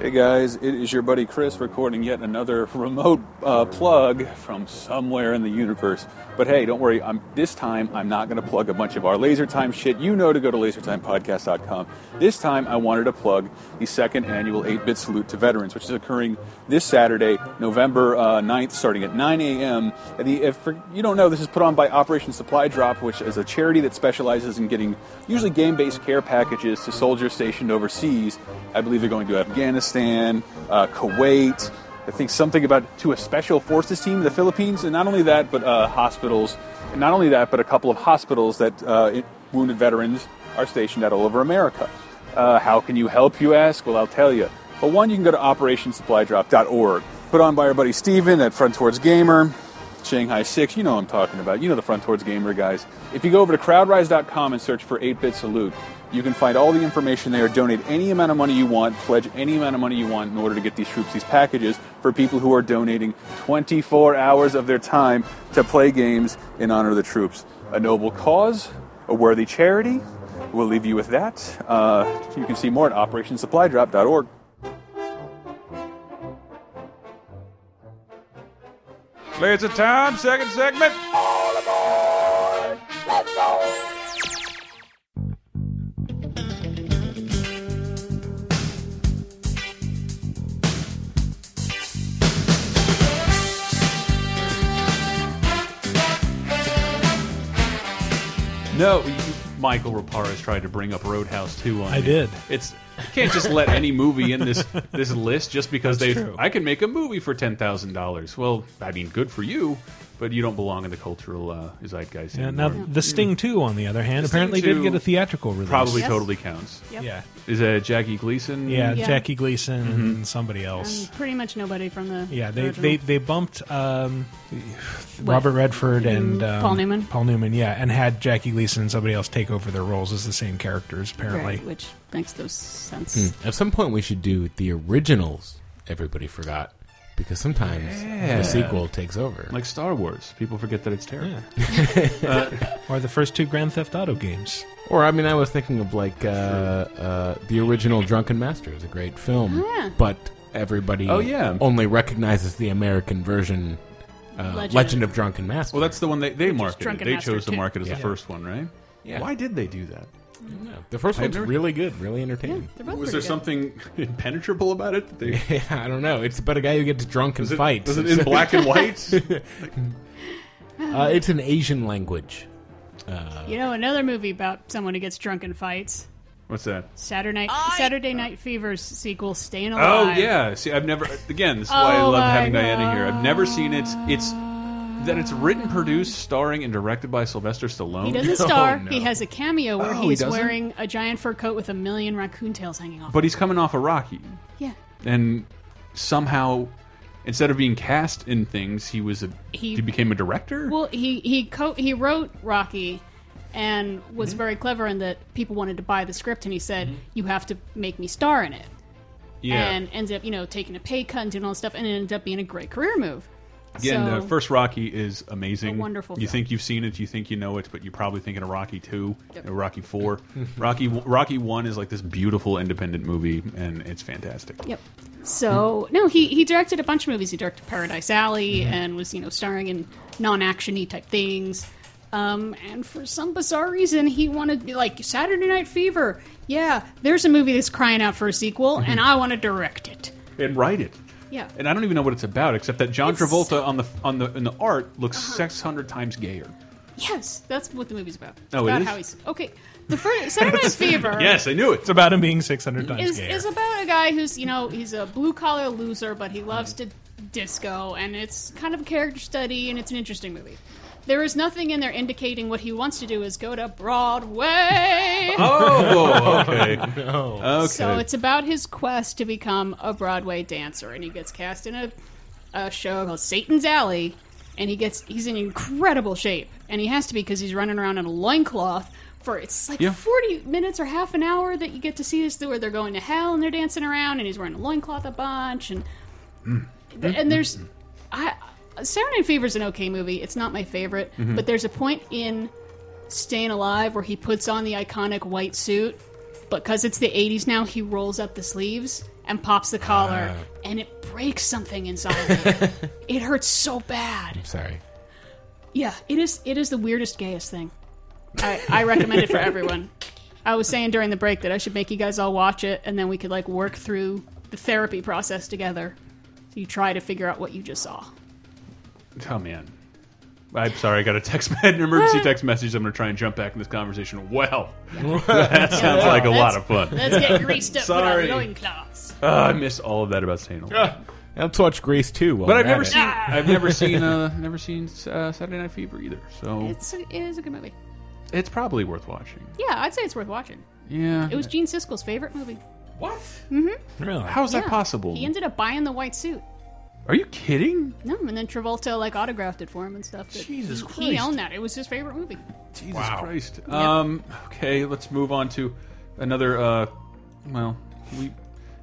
Hey guys, it is your buddy Chris recording yet another remote uh, plug from somewhere in the universe. But hey, don't worry, I'm, this time I'm not going to plug a bunch of our Laser Time shit. You know to go to lasertimepodcast.com. This time I wanted to plug the second annual 8 Bit Salute to Veterans, which is occurring this Saturday, November uh, 9th, starting at 9 a.m. And the, if for, you don't know, this is put on by Operation Supply Drop, which is a charity that specializes in getting usually game based care packages to soldiers stationed overseas. I believe they're going to Afghanistan, uh, Kuwait. I think something about to a special forces team in the Philippines, and not only that, but uh, hospitals. And not only that, but a couple of hospitals that uh, it- wounded veterans are stationed at all over America. Uh, how can you help, you ask? Well, I'll tell you. But one, you can go to OperationSupplyDrop.org, put on by our buddy Steven at Front Towards Gamer. Shanghai 6, you know what I'm talking about. You know the Front Towards Gamer guys. If you go over to crowdrise.com and search for 8 Bit Salute, you can find all the information there. Donate any amount of money you want, pledge any amount of money you want in order to get these troops these packages for people who are donating 24 hours of their time to play games in honor of the troops. A noble cause, a worthy charity. We'll leave you with that. Uh, you can see more at OperationSupplyDrop.org. Laser time, second segment. No, you, Michael Rapara has tried to bring up Roadhouse 2 on
I
me.
did.
It's you can't just let any movie in this this list just because
That's
they
true.
I can make a movie for $10,000. Well, I mean good for you, but you don't belong in the cultural uh, zeitgeist.
Yeah, now,
anymore.
The Sting 2, on the other hand,
The Sting
apparently
2
did get a theatrical release.
Probably totally counts.
Yep.
Yeah.
Is that Jackie Gleason?
Yeah,
Yeah.
Jackie Gleason and somebody else.
And pretty much nobody from the.
yeah, they,
original.
they, they bumped um, Robert Redford and um,
Paul Newman.
Paul Newman, yeah, and had Jackie Gleason and somebody else take over their roles as the same characters, apparently.
Right, which makes no sense.
Hmm. At some point, we should do the originals. Everybody forgot because sometimes
Yeah.
the sequel takes over.
Like Star Wars. People forget that it's terrible.
or the first two Grand Theft Auto games.
Or I mean, I was thinking of like uh, uh, the original Drunken Master is a great film,
Oh, yeah.
but everybody
Oh, yeah.
only recognizes the American version, uh, Legend.
Legend.
of Drunken Master.
Well, that's the one they, they marketed.
Drunken
They
Master
chose to
too.
market as
Yeah.
the first one, right?
Yeah.
Why did they do that?
the first
I've
one's
never-
really good, really entertaining.
They're both
Was
pretty
there
good.
something impenetrable about it? That they,
Yeah, I don't know. It's about a guy who gets drunk and
was it,
fights.
was it in black and white?
uh, it's an Asian language. Uh,
You know, another movie about someone who gets drunk and fights.
What's that?
Saturday Night, Saturday Night Fever's sequel, Staying
Oh
Alive.
yeah. See, I've never. Again, this is why I
Oh,
love
my
having Diana here. I've never seen it. It's that it's written, produced, starring, and directed by Sylvester Stallone.
He doesn't star. He has a cameo where
Oh, he
he's
doesn't?
wearing a giant fur coat with a million raccoon tails hanging off.
But he's coming off a Rocky,
yeah,
and somehow, instead of being cast in things, he was a
He-
he, became a director.
Well, he he co- he wrote Rocky, and was
Mm-hmm.
very clever in that people wanted to buy the script, and he said, "You have to make me star in it,"
yeah.
and ends up you know taking a pay cut and doing all this stuff, and it ended up being a great career move.
Again,
so,
the first Rocky is amazing.
A wonderful
You
film.
think you've seen it, you think you know it, but you're probably thinking of Rocky Two, or Rocky Four. Rocky Rocky One is like this beautiful independent movie, and it's fantastic.
Yep. So no, he he directed a bunch of movies. He directed Paradise Alley
Mm-hmm.
and was you know starring in non-actiony type things. Um, and for some bizarre reason, he wanted like Saturday Night Fever. Yeah, there's a movie that's crying out for a sequel,
Mm-hmm.
and I want to direct it.
And write it.
Yeah.
And I don't even know what it's about, except that John
It's- Uh-huh.
Travolta on the on the in the art looks hundred times gayer.
Yes, that's what the movie's about. It's
Oh, it
about
is?
how he's okay. The first Saturday Night Fever.
Yes, I knew it.
It's about him being 600 times
is,
gayer.
is about a guy who's you know he's a blue collar loser, but he loves to disco, and it's kind of a character study, and it's an interesting movie. There is nothing in there indicating what he wants to do is go to Broadway.
Oh, okay. Okay.
So it's about his quest to become a Broadway dancer, and he gets cast in a, a show called Satan's Alley, and he gets he's in incredible shape, and he has to be because he's running around in a loincloth for it's like
Yeah.
forty minutes or half an hour that you get to see this where they're going to hell and they're dancing around, and he's wearing a loincloth a bunch, and and there's I Saturday Night Fever's an okay movie. It's not my favorite, but there's a point in Staying Alive where he puts on the iconic white suit, but because it's the 80s now, he rolls up the sleeves and pops the collar,
Ah.
and it breaks something inside me. it hurts so bad.
sorry.
Yeah, it is. It is the weirdest, gayest thing. I, I recommend it for everyone. I was saying during the break that I should make you guys all watch it, and then we could like work through the therapy process together. So you try to figure out what you just saw.
Oh man. I'm sorry, I got a text an emergency text message. I'm gonna try and jump back in this conversation. Well, that sounds like a lot of fun.
Let's get greased up
Sorry.
with our loincloths.
Uh, I miss all of that about St.
Let's watch Grace too.
But I've never seen I've never seen uh, never seen uh, Saturday Night Fever either. So it's,
It's a, it is a good movie.
probably worth watching.
Yeah, I'd say it's worth watching.
Yeah.
It was Gene Siskel's favorite movie.
what?
really?
How is
Yeah.
that possible?
He ended up buying the white suit.
Are you kidding?
No, and then Travolta like autographed it for him and stuff. but
Jesus
he, He
Christ.
owned that. It was his favorite movie.
Jesus Christ. Um okay, let's move on to another uh well, we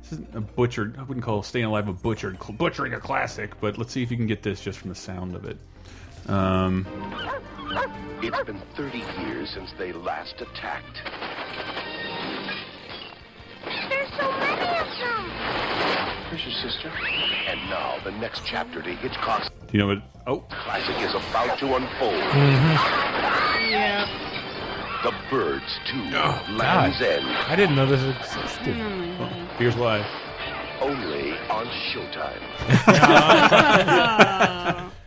this isn't a butchered I wouldn't call Staying Alive a butchered butchering a classic, but let's see if you can get this just from the sound of it. Um
It's been 30 years since they last attacked.
There's so many of them.
Where's your sister? And now the next chapter to Hitchcock's
do you know what oh
classic is about to unfold.
Yeah.
The Birds 2,
Oh,
Land's End,
I didn't know this existed.
here's why.
only on Showtime.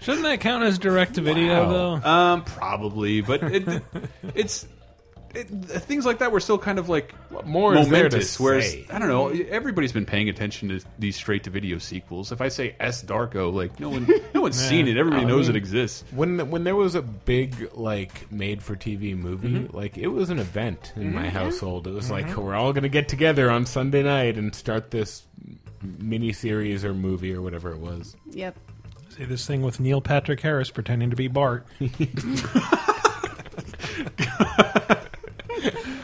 Shouldn't that count as direct to video, though?
Um, probably, but it, it's it, things like that were still kind of like
more is there to
momentous. whereas
say?
I don't know, everybody's been paying attention to these straight to video sequels. If I say S Darko, like no one, no one's
Yeah.
seen it. Everybody
I
knows
mean,
it exists.
When when there was a big like made for TV movie,
Mhm.
like it was an event in my
Mhm.
household. It was like
Mhm.
we're all going to get together on Sunday night and start this mini series or movie or whatever it was.
Yep.
See this thing with Neil Patrick Harris pretending to be Bart.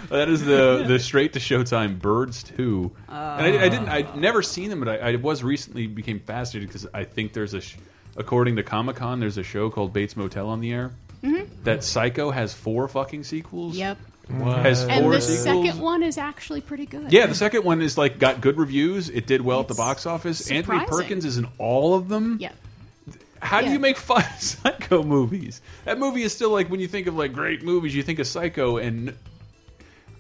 That is the the straight to Showtime Birds too. and I, I didn't,
Ah.
I'd never seen them, but I, I was recently became fascinated because I think there's a, sh according to Comic Con, there's a show called Bates Motel on the air.
Mhm.
That Psycho has four fucking sequels.
Yep.
Has four
And the
sequels.
second one is actually pretty good.
Yeah, the second one is like got good reviews. It did well at the box office. Anthony
surprising.
Perkins is in all of them.
Yeah.
How do
Yeah.
you make fun of Psycho movies? That movie is still like when you think of like great movies, you think of Psycho, and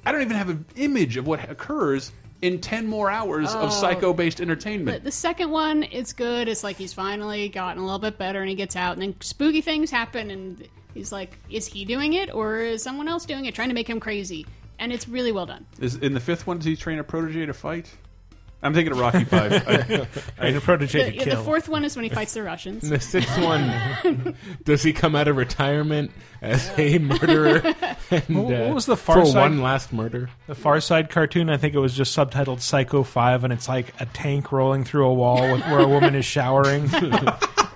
I don't even have an image of what occurs in ten more hours
Oh.
of Psycho-based
But
entertainment.
the second one, it's good. It's like he's finally gotten a little bit better, and he gets out, and then spooky things happen, and he's like, "Is he doing it, or is someone else doing it, trying to make him crazy?" And it's really well done.
Is in the fifth one, does he train a protege to fight? I'm thinking of Rocky Five. I-
Train a protege
The, yeah, the fourth one is when he fights the Russians.
And the sixth one, does he come out of retirement as a murderer? And,
What-
uh,
what was the Far
for
Side-
one last murder?
The Far Side cartoon, I think it was just subtitled Psycho 5, and it's like a tank rolling through a wall with, where a woman is showering.
That,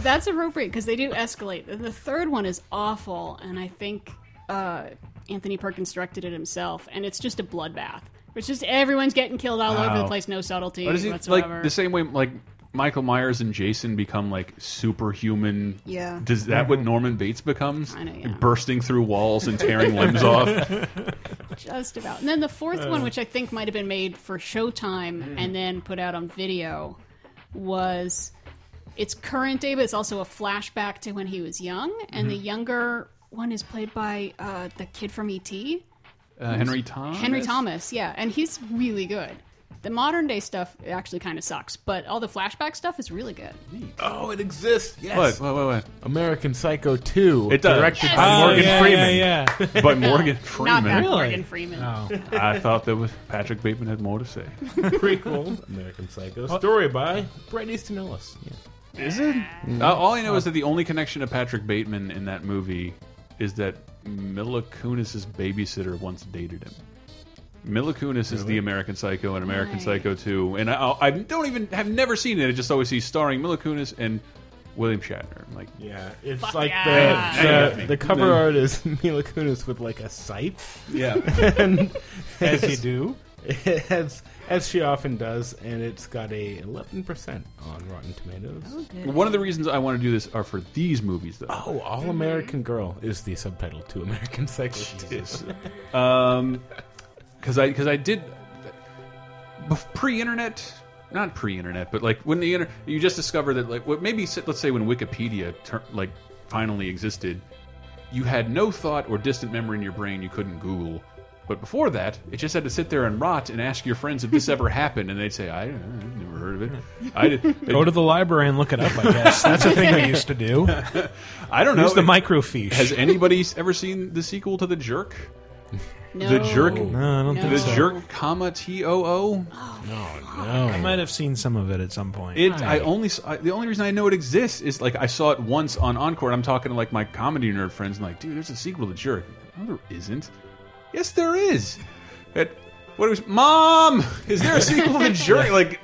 that's appropriate because they do escalate. The- The third one is awful, and I think uh, Anthony Perkins directed it himself, and it's just a bloodbath. It's just everyone's getting killed all over the
Wow.
place, no subtlety
But is it
whatsoever.
like the same way like Michael Myers and Jason become like superhuman?
Yeah.
Does that what Norman Bates becomes?
I know, yeah.
Bursting through walls and tearing limbs off.
Just about. And then the fourth
Uh. Mm.
one, which I think might have been made for Showtime and then put out on video, was it's current day, but it's also a flashback to when he was young.
Mm-hmm.
And the younger one is played by uh, the kid from ET,
Uh, Henry Thomas.
Henry Thomas. Yeah, and he's really good. The modern day stuff actually kind of sucks, but all the flashback stuff is really good.
Oh, it exists. Yes.
What? What? What? what?
American Psycho 2.
It does.
Directed
Yes.
by
Oh,
Morgan
yeah,
Freeman.
yeah, yeah. By Morgan
Not
Freeman.
that
Really?
Morgan Freeman.
I thought that was Patrick Bateman had more to say.
Prequel. American
Uh,
Psycho. Story by Bret Easton Ellis.
Is it? Uh, all I know is that the only connection to Patrick Bateman in that movie is that Mila Kunis's babysitter once dated him. Mila Kunis is the American Psycho and American Psycho 2, and I, I don't even have never seen it. I just always see starring Mila Kunis and William Shatner. I'm like,
yeah, it's
Fuck
like
yeah.
the,
Yeah.
the the cover
Yeah.
art is Mila Kunis with like a scythe.
Yeah.
and
As you do.
as as she often does, and it's got a eleven percent on Rotten Tomatoes.
One of the reasons I want to do this are for these movies, though.
Oh, All American Girl is the subtitle to American Psycho. Jesus.
um, because I because I did bef- pre-internet, not pre-internet, but like when the inter you just discover that like what maybe s- let's say when Wikipedia tur like finally existed, you had no thought or distant memory in your brain you couldn't Google. But before that, it just had to sit there and rot and ask your friends if this ever happened, and they'd say, "I, don't know, I've never heard of it." I did,
Go to the library and look it up, I guess. That's a thing we used to do.
I don't know.
Use the
It-
microfiche.
Has anybody s- ever seen the sequel to The Jerk?
No.
The
Oh,
Jerk.
No, I don't think
The
so.
Jerk, comma T O O.
No. I might have seen some of it at some point.
It. I only. s- I- the only reason I know it exists is like I saw it once on Encore. And I'm talking to like my comedy nerd friends and like, dude, there's a sequel to Jerk. No, there isn't. Yes, there is. It. What was mom? Is there a sequel to Jerk? Like,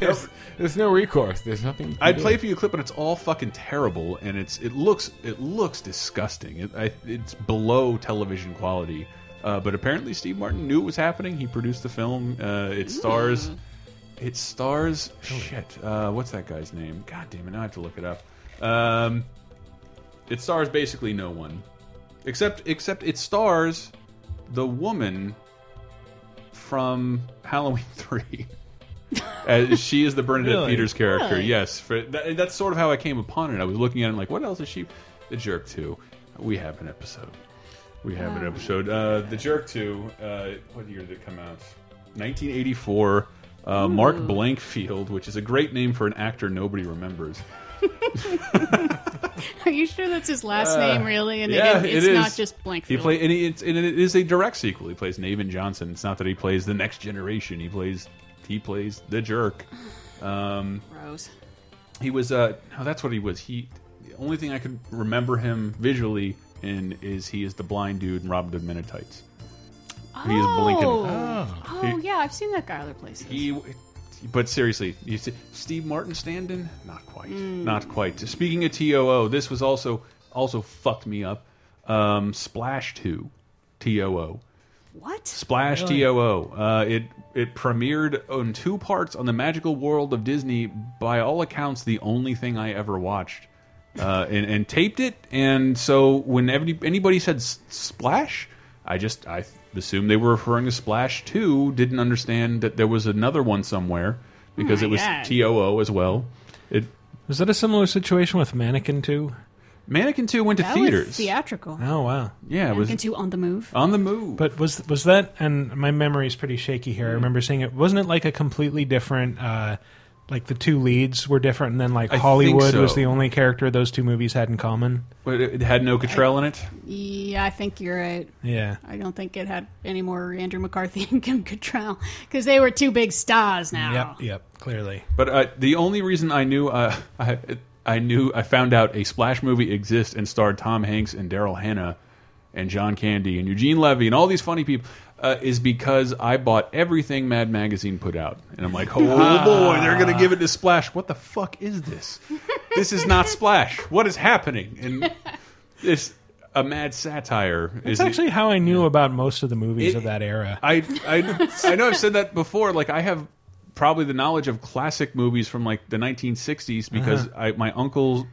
there's, there's no recourse. There's nothing. you can
I'd
do.
play for you a clip, and it's all fucking terrible, and it's it looks it looks disgusting. It, I, it's below television quality. Uh, but apparently, Steve Martin knew it was happening. He produced the film. Uh, it stars, it stars. Shit, uh, what's that guy's name? God damn it! Now I have to look it up. Um, it stars basically no one, except except it stars the woman from Halloween Three. As she is the Bernadette
Really?
Peters character.
Really?
Yes, for, that, that's sort of how I came upon it. I was looking at it and like, what else is she? The Jerk Two. We have an episode. We have an episode. Uh, the Jerk Two. Uh, what year did it come out? 1984. uh, Mark
Hmm.
Blankfield, which is a great name for an actor nobody remembers.
Are you sure that's his last
Uh,
name, really? And
yeah,
it,
it
it's
is.
not just blank.
He play, and, he, it's, and it is a direct sequel. He plays Naven Johnson. It's not that he plays the next generation. He plays he plays the jerk. Um,
Rose.
He was. Uh, no, that's what he was. He. The only thing I could remember him visually in is he is the blind dude in Robin Hood Minutites. He is blinking.
Oh,
He-
oh yeah, I've seen that guy other places.
he, but seriously, you see, Steve Martin Standen? Not quite.
Mm.
Not quite. Speaking of TOO, this was also also fucked me up. Um, Splash 2, TOO.
What?
Splash
Really?
TOO. Uh, it it premiered in two parts on the Magical World of Disney. By all accounts, the only thing I ever watched, uh, and, and taped it. And so when every, anybody said s- Splash, I just I assumed they were referring to Splash Two. Didn't understand that there was another one somewhere because
Oh
my
it was
God.
TOO as well. It
Was that a similar situation with Mannequin 2?
Mannequin 2 went to
That was
theaters. Oh.
theatrical.
Oh, wow.
Yeah,
Anakin two on the move.
on the move.
But was was that? And my memory's pretty shaky here. I
Mm-hmm.
remember seeing it. Wasn't it like a completely different? Uh, like the two leads were different, and then like
I think
Hollywood
so.
was the only character those two movies had in common.
But it, it had no Cottrell in it.
Yeah, I think you're right.
Yeah.
I don't think it had any more Andrew McCarthy and Kim Cattrall because they were two big stars now.
Yep. Yep. Clearly.
But uh, the only reason I knew, uh, I, I knew, I found out a Splash movie exists and starred Tom Hanks and Daryl Hannah and John Candy and Eugene Levy and all these funny people uh, is because I bought everything Mad Magazine put out, and I'm like, oh boy, they're gonna give it to Splash. What the fuck is this? This is not Splash. What is happening? And it's a mad satire.
That's
is
actually how I knew about most of the movies
It-
of that era.
I, I I know I've said that before. Like I have probably the knowledge of classic movies from like the 1960s because
Uh-huh.
I my uncle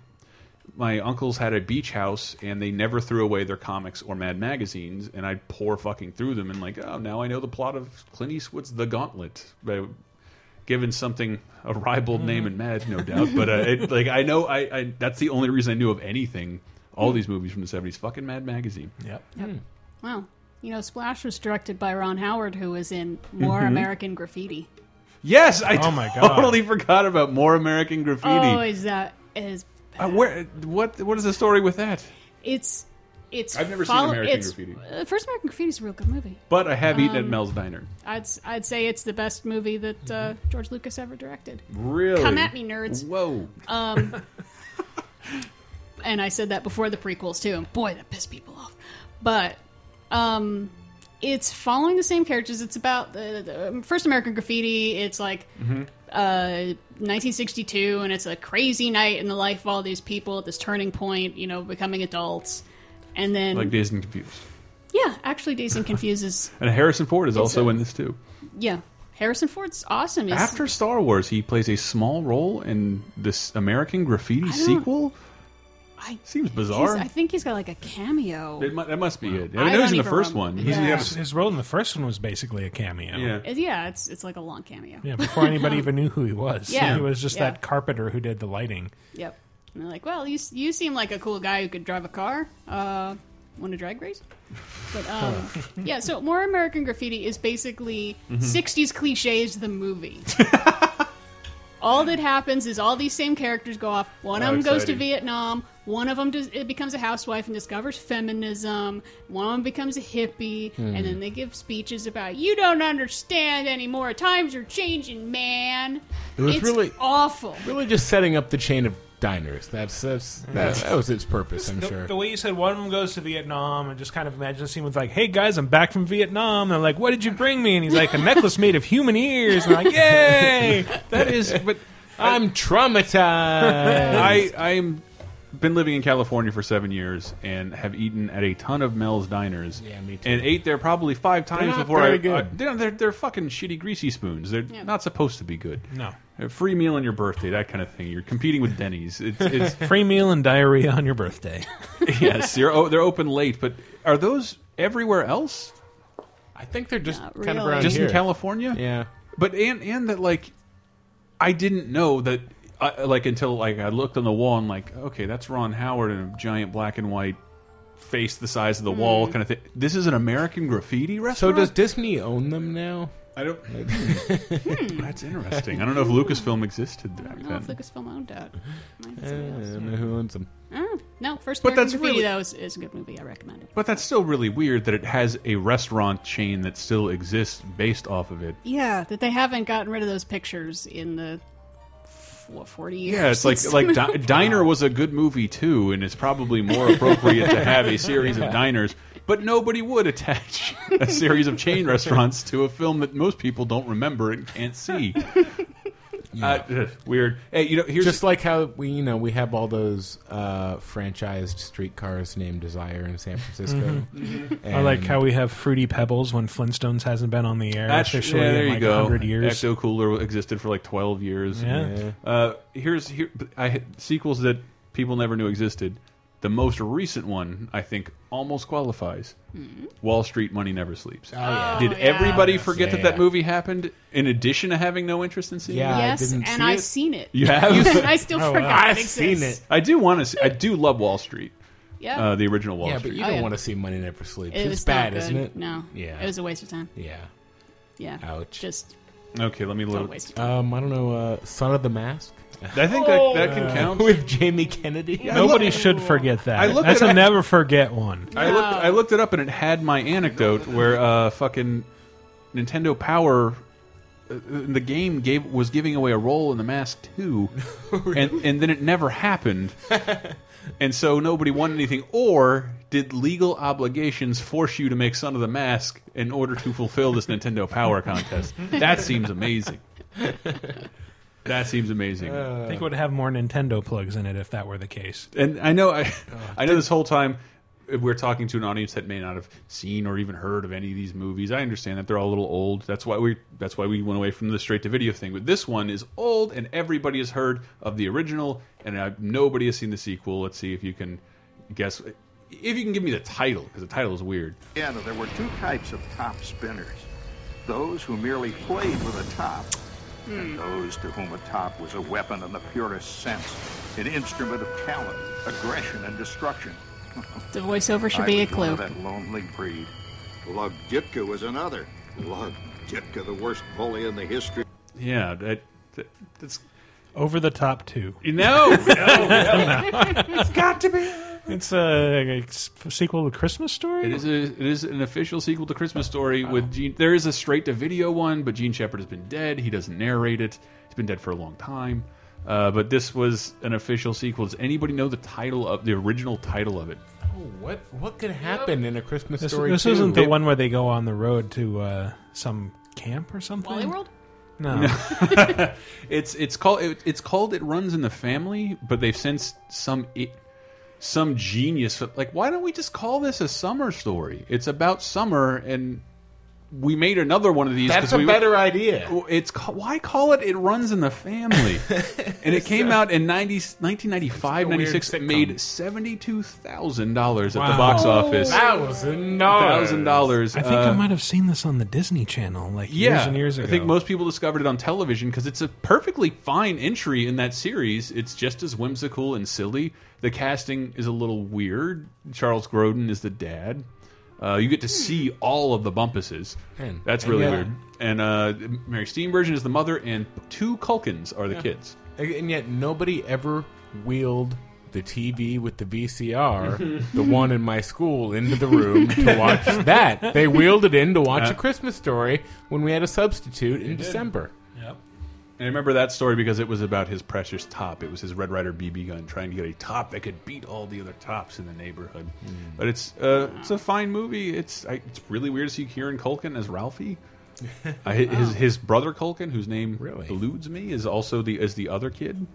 my uncles had a beach house and they never threw away their comics or Mad magazines and I'd pour fucking through them and like oh now I know the plot of Clint Eastwood's The Gauntlet. By, Given something a ribald name and mad, no doubt, but uh, it, like I know, I, I that's the only reason I knew of anything. All these movies from the seventies, fucking Mad Magazine.
Yep.
Wow. You know, Splash was directed by Ron Howard, who was in More
Mhm.
American Graffiti.
Yes, I
Oh my God.
totally forgot about more American graffiti.
Oh, is that is
Uh, where what what is the story with that?
it's it's.
I've never seen American
it's-
Graffiti.
uh, First American Graffiti is a real good movie.
But I have eaten at
Um,
Mel's Diner.
I'd s- I'd say it's the best movie that uh, George Lucas ever directed.
Really?
Come at me, nerds.
Whoa.
Um, and I said that before the prequels too, and boy, that pissed people off. But um, it's following the same characters. It's about uh, the, the first American Graffiti. It's like
Mm-hmm.
uh, 1962, and it's a crazy night in the life of all these people at this turning point. You know, becoming adults, and then
Like Dazed and Confused.
yeah, actually, Dazed and Confused is
And Harrison Ford is
It's
also
a-
in this too.
yeah. Harrison Ford's awesome. He's-
After Star Wars, he plays a small role in this American Graffiti sequel.
I,
Seems
he's-
bizarre.
I think he's got like a cameo.
It mu- that must be it. I,
I
know he's
don't
in the
even
first
remember.
one.
He's- Yeah.
His, his role in the first one was basically a cameo.
Yeah.
It- yeah, it's it's like a long cameo.
Yeah, before anybody even knew who he was.
Yeah.
He was just
Yeah.
that carpenter who did the lighting.
Yep. And they're like, well, you you seem like a cool guy who could drive a car. Uh, want to drag race? But um, yeah, so more American Graffiti is basically
Mhm.
'60s cliches. The movie. all that happens is all these same characters go off. One
How
of them goes to
exciting.
Vietnam. One of them does, it becomes a housewife and discovers feminism. One of them becomes a hippie,
Hmm.
and then they give speeches about you don't understand anymore. Times are changing, man.
It was
it's
really-
awful.
Really, just setting up the chain of diners. That's that's that, that was its purpose. I'm
the,
sure.
the way you said one of them goes to Vietnam and just kind of imagine a scene with like, "Hey guys, I'm back from Vietnam." And they're like, "What did you bring me?" And he's like, "A necklace made of human ears." And they're like, "Yay!"
that is, but
I'm traumatized.
I I'm been living in California for seven years and have eaten at a ton of Mel's diners. Yeah, me too. And ate there probably five
They're
times
not
before
very
I.
good.
I- they're, they're they're fucking shitty greasy spoons. They're not supposed to be good.
No.
A free meal on your birthday, that kind of thing. You're competing with Denny's. It's, it's
free meal and diarrhea on your birthday.
yes. You're, oh, they're open late, but are those everywhere else?
I think they're just
Not
kind of
really.
around
just
here.
in California.
Yeah.
but and and that like I didn't know that I, like until like I looked on the wall and like okay that's Ron Howard in a giant black and white
Hmm.
face the size of the wall kind of thing. This is an American graffiti
So
restaurant.
does Disney own them now?
I don't. That's interesting. I don't know if Lucasfilm existed back
I don't know
then.
if Lucasfilm owned that. Might be
I
somebody else.
don't know who owns them.
Oh, no, first
But
American
that's
Graffiti
really-
though is, is a good movie. I recommend it.
But that's still really weird that it has a restaurant chain that still exists based off of it.
Yeah, that they haven't gotten rid of those pictures in the what forty years.
Yeah, it's like
since-
like Di Diner was a good movie too, and it's probably more appropriate to have a series of diners. But nobody would attach a series of chain restaurants to a film that most people don't remember and can't see. Uh, ugh, weird. Hey, you know, here's
just like how we, you know, we have all those uh, franchised streetcars named Desire in San Francisco.
Mm-hmm.
Mm-hmm.
I like
And-
how we have Fruity Pebbles when Flintstones hasn't been on the air
That's-
officially
yeah,
in like
go.
100 years.
Ecto Cooler existed for like twelve years.
Yeah.
Uh, here's here I had sequels that people never knew existed. The most recent one I think almost qualifies. Wall Street Money Never Sleeps.
yeah.
Did
Oh, yeah.
everybody forget
Yeah,
that that
yeah.
movie happened? In addition to having no interest in seeing it.
yes, and I've seen it.
You have? Oh,
and I still forgot it
I've seen
exists.
it.
I do want to. See, I do love Wall Street.
Yeah.
Uh, the original Wall
yeah,
Street.
but you
Oh,
don't
yeah.
want to see Money Never Sleeps.
It
it's
was
bad,
not good.
isn't it?
No.
Yeah.
It was a waste of time.
Yeah.
Yeah.
Ouch.
Just
Okay, let me
Don't
look.
waste your
Um, I don't know. Uh, Son of the Mask.
I think that, that can
Uh,
count.
with Jamie Kennedy.
Nobody should forget that.
I looked
That's
it
a
up.
never forget one.
I looked I looked it up and it had my anecdote where uh fucking Nintendo Power uh, the game gave was giving away a role in the mask 2 and and then it never happened. and so nobody won anything or did legal obligations force you to make Son of the Mask in order to fulfill this Nintendo Power contest? That seems amazing. That seems amazing.
I think it would have more Nintendo plugs in it if that were the case.
And I know I, I know this whole time we're talking to an audience that may not have seen or even heard of any of these movies. I understand that they're all a little old. That's why we that's why we went away from the straight to video thing. But this one is old, and everybody has heard of the original, and uh nobody has seen the sequel. Let's see if you can guess. If you can give me the title, because the title is weird.
piano, there were two types of top spinners those who merely played with a top, and those to whom a top was a weapon in the purest sense, an instrument of talent, aggression, and destruction.
The voiceover should be
I
a
was one
clue.
of that lonely breed. Lug Ditka was another. Lug Ditka, the worst bully in the history.
Yeah, that, that, that's
Over the top two.
no, no,
it's got to be. It's a, a sequel to Christmas Story.
It is a, it is an official sequel to Christmas Story
Oh.
with Gene. There is a straight to video one, but Gene Shepard has been dead. He doesn't narrate it. He's been dead for a long time. Uh, but this was an official sequel. Does anybody know the title of the original title of it?
Oh, What what could happen in a Christmas
This,
story?
this
too?
isn't the one where they go on the road to uh, some camp or something.
Wally World?
No.
it's it's called it, it's called it runs in the family, but they've since some i- some genius like why don't we just call this a summer story? It's about summer and we made another one of these.
That's
'cause
a
we,
better idea.
It's ca- why call it? It runs in the family, and it came out in 90, 1995,
It's a weird
96. It
sitcom.
made seventy two thousand dollars at the
Wow.
box office.
Thousand dollars.
thousand dollars.
I think I might have seen this on the Disney Channel like years and years ago.
Uh, I think most people discovered it on television because it's a perfectly fine entry in that series. It's just as whimsical and silly. The casting is a little weird. Charles Grodin is the dad. Uh, you
Hmm.
get to see all of the Bumpuses.
Man.
That's really
Yeah.
weird. And uh, Mary Steenburgen is the mother, and two Culkins are the
Yeah.
kids.
And yet nobody ever wheeled the TV with the VCR,
Mhm.
the one in my school, into the room to watch that. They wheeled it in to watch
Yeah.
a Christmas story when we had a substitute in
did.
December.
And I remember that story because it was about his precious top. It was his Red Rider BB gun trying to get a top that could beat all the other tops in the neighborhood. But it's uh, it's a fine movie. It's I, it's really weird to see Kieran Culkin as Ralphie. I, his his brother Culkin, whose name eludes me, is also the is the other kid.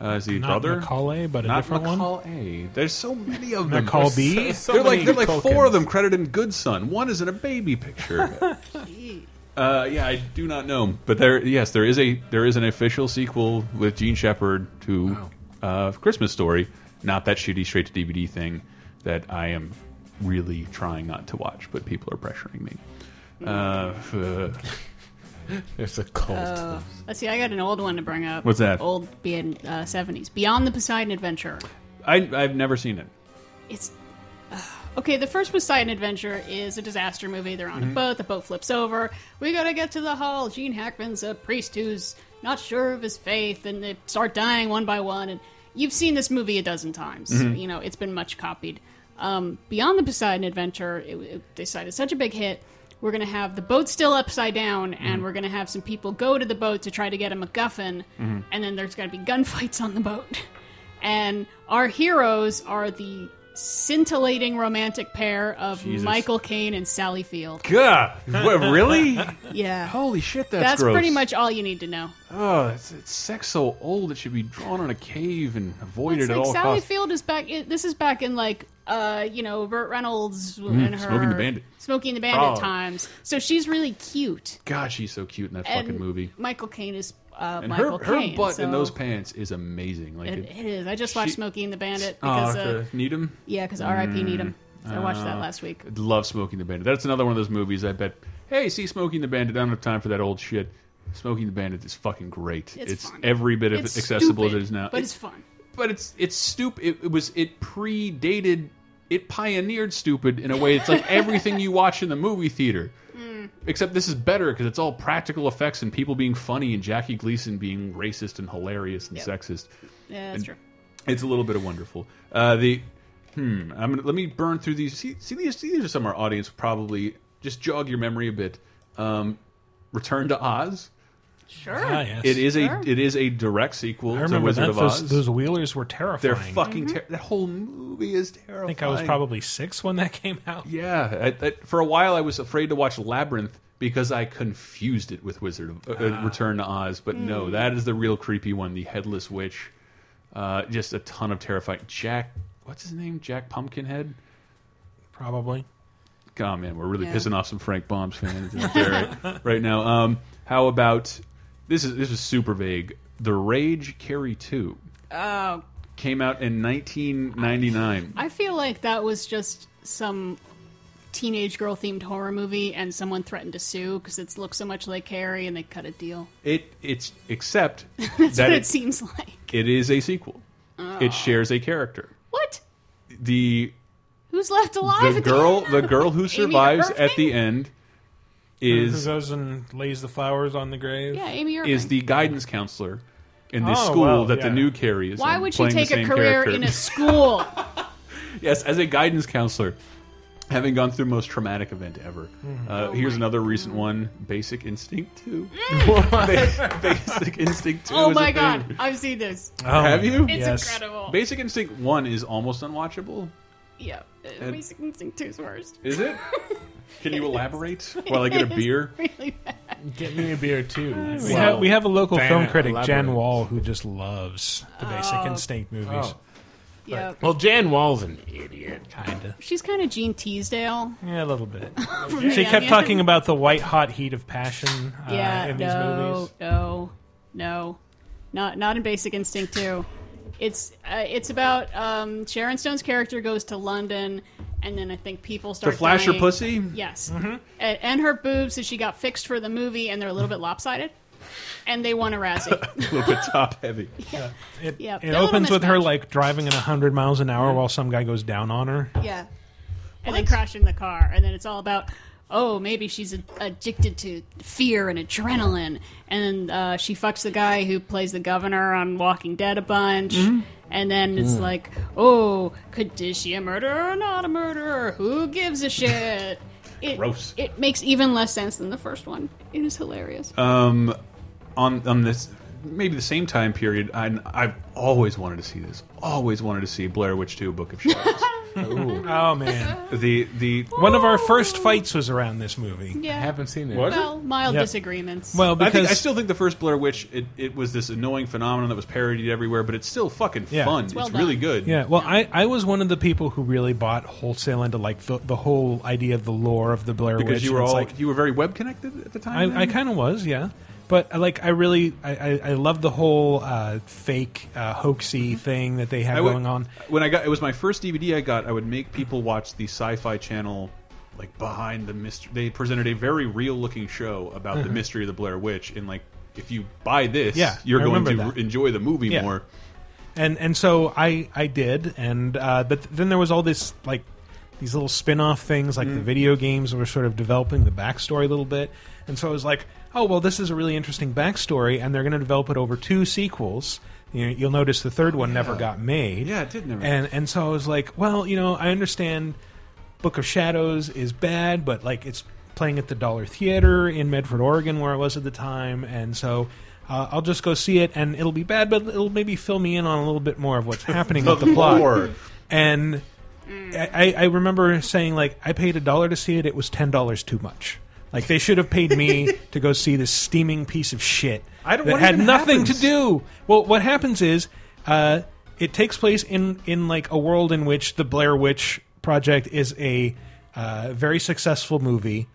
Uh, is the
Not
brother
Macaulay, but a
not
different one?
Macaulay. There's so many of them.
Macaulay?
There's
So
they're like
many
they're like four
Culkins.
of them credited in Good Son. One is in a baby picture. Uh, yeah, I do not know, but there, yes, there is a there is an official sequel with Gene Shepard to uh, Christmas Story, not that shitty straight to DVD thing that I am really trying not to watch, but people are pressuring me. Hmm. Uh,
There's a cult.
Uh, let's see. I got an old one to bring up.
What's that?
Old uh, being seventies. Beyond the Poseidon Adventure.
I I've never seen it.
It's. Uh, Okay, the first Poseidon Adventure is a disaster movie. They're on a
Mhm.
boat. The boat flips over. We gotta get to the hall. Gene Hackman's a priest who's not sure of his faith, and they start dying one by one. And you've seen this movie a dozen times.
Mhm.
You know it's been much copied. Um, Beyond the Poseidon Adventure, it, it, they decided such a big hit. We're gonna have the boat still upside down, and we're gonna have some people go to the boat to try to get a MacGuffin
Mhm.
and then there's going to be gunfights on the boat. And our heroes are the scintillating romantic pair of
Jesus.
Michael Caine and Sally Field.
God, what, really?
Yeah.
Holy shit, that's, gross.
pretty much all you need to know.
Oh, it's, it's sex so old it should be drawn on a cave and avoided
It's
at
like
all
Sally
costs.
Field is back. It, this is back in like uh, you know Burt Reynolds
Mm,
and her
Smoking the Bandit.
Smoking the Bandit
Oh.
times. So she's really cute.
God, she's so cute in that
and
fucking movie.
Michael Caine is uh,
And her,
Michael
her
Caine.
butt in
so
those pants is amazing. Like
it,
it-
it is. I just watched
she-
Smoking the Bandit
Ah,
because uh,
the Needham.
yeah, because R.I.P. Needham.
Mm,
I watched that
uh,
last week.
I'd Love Smoking the Bandit. That's another one of those movies. I bet. Hey, see Smoking the Bandit. I don't have time for that old shit. Smoking the Bandit is fucking great.
It's
It's,
fun.
every bit of
It's
accessible as it
stupid,
is now.
but it's fun.
But it's it's stupid. It, it was it predated. It pioneered stupid in a way. It's like everything you watch in the movie theater.
Hmm.
Except this is better because it's all practical effects and people being funny and Jackie Gleason being racist and hilarious and
Yep.
sexist.
Yeah, that's
And
true.
It's a little bit of wonderful. Uh, the hmm. I'm gonna, let me burn through these. See, see these. See, these are some our audience probably just jog your memory a bit. Um, Return to Oz.
Sure.
Ah, yes.
It is
Sure.
a it is a direct sequel
I
to
remember
Wizard
that.
of
Those,
Oz.
those wheelers were terrifying.
They're fucking ter- that whole movie is terrifying.
I think I was probably six when that came out.
Yeah, I, I, for a while I was afraid to watch Labyrinth because I confused it with Wizard of, uh, uh, Return to Oz, but no,
Hmm.
Mm.
that is the real creepy one, the Headless Witch. Uh, just a ton of terrifying. Jack, what's his name? Jack Pumpkinhead.
Probably.
God, man, we're really
Yeah.
pissing off some Frank Bombs fans out there right, right now. Um, how about this? Is this is super vague? The Rage Carry Two
Oh,
came out in 1999.
I feel like that was just some teenage girl themed horror movie, and someone threatened to sue because it looks so much like Carrie, and they cut a deal.
It it's except
That's
that
what it,
it-
seems like.
it is a sequel.
Oh.
It shares a character.
What?
The
Who's left alive?
the girl the girl who
Amy
survives
Irving?
at the end
Who
is
goes and lays the flowers on the grave?
Yeah, Amy Irving.
is the guidance counselor in the
Oh,
school
well,
that the
yeah.
new Carrie is.
Why
in,
would she
playing the
take a
same
career
character.
in a school?
yes, as a guidance counselor, having gone through most traumatic event ever.
Mm-hmm.
Mhm.
Uh,
Oh
here's
my
another recent one: Basic Instinct Two.
Mm.
Basic Instinct Two.
oh
is a
my
thing.
god, I've seen this.
Oh,
Have you?
It's incredible.
Basic Instinct One is almost unwatchable.
yeah, uh,
And-
Basic Instinct 2's worst.
Is it? Can you elaborate while I get a
It is
beer?
Really
Get me a beer too.
We, have, we have a local
Damn,
film critic,
elaborate.
Jan Wall, who just loves the Basic Instinct movies.
Oh.
Yeah.
Well, Jan Wall's an idiot,
kinda.
She's kind of Jean Teasdale.
Yeah, a little bit.
From
she
The
kept
Onion.
talking about the white hot heat of passion uh,
yeah,
in these
no,
movies.
no, no, not not in Basic Instinct two. It's uh, it's about um, Sharon Stone's character goes to London, and then I think people start
flash her
dying.
pussy?
Yes,
Mm-hmm.
Mhm.
A- and, her boobs that she got fixed for the movie, and they're a little bit lopsided, and they won a Razzie.
a little bit top heavy.
It,
yeah, they're a
It
little
opens with her
mismatched.
like driving at 100 miles an hour while some guy goes down on her.
Yeah. And then crashing the car. And then it's all about, oh, maybe she's a- addicted to fear and adrenaline. And uh, she fucks the guy who plays the governor on Walking Dead a bunch.
Mhm.
And then it's
Mm.
like, oh, could is she a murderer or not a murderer? Who gives a shit? It,
Gross.
It makes even less sense than the first one. It is hilarious.
Um, on on this maybe the same time period, I, I've always wanted to see this. Always wanted to see Blair Witch Two: Book of Shadows.
Oh man.
the the
one of our first fights was around this movie.
Yeah.
haven't seen
Was it?
Well, mild
Yep.
disagreements.
Well,
I, think,
because-
I still think the first Blair Witch it, it was this annoying phenomenon that was parodied everywhere, but it's still fucking
Yeah.
fun. It's,
It's well
really good.
Yeah, well, I, I was one of the people who really bought wholesale into like the, the whole idea of the lore of the Blair
because
Witch.
you
and
were
it's
all
like,
you were very web connected at the time.
Mm-hmm.
I, I kind of was, yeah. But uh, like, I really, I, I, I love the whole uh, fake uh,
Mm-hmm.
hoaxy thing that they have
I would-
going on.
When I got it was my first DVD I got. I would make people watch the Sci-Fi Channel, like behind the mystery. They presented a very real-looking show about the
Mhm.
mystery of the Blair Witch, and like if you buy this,
Yeah,
you're
I
going to
remember that.
enjoy the movie
Yeah.
more.
And and so I I did, and uh, but then there was all this like these little spin-off things like the video games were sort of developing the backstory a little bit and so i was like oh well this is a really interesting backstory and they're going to develop it over two sequels you know, you'll notice the third one never got made Oh, yeah it did
never
and and so i was like well you know i understand book of shadows is bad but like it's playing at the dollar theater in medford oregon where i was at the time and so uh, I'll just go see it, and it'll be bad, but it'll maybe fill me in on a little bit more of what's happening with the plot.
Lord.
And I, I remember saying like I paid a dollar to see it. It was ten dollars too much. Like they should have paid me to go see this steaming piece of shit
I don't-
that
what
had
even
nothing
happens?
to do. Well, what happens is uh, it takes place in in like a world in which the Blair Witch Project is a uh, very successful movie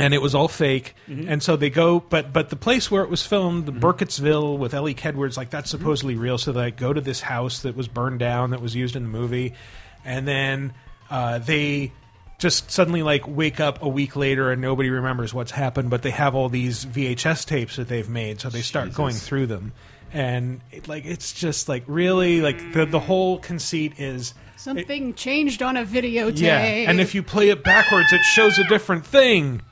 and it was all fake. And so they go, but but the place where it was filmed, the Burkittsville with Ellie Kedwards, like that's supposedly real. So they like, go to this house that was burned down that was used in the movie, and then uh, they just suddenly like wake up a week later and nobody remembers what's happened. But they have all these VHS tapes that they've made, so they start going through them. And it, like it's just like really like the the whole conceit is
Something changed on a videotape.
yeah, and if you play it backwards, it shows a different thing.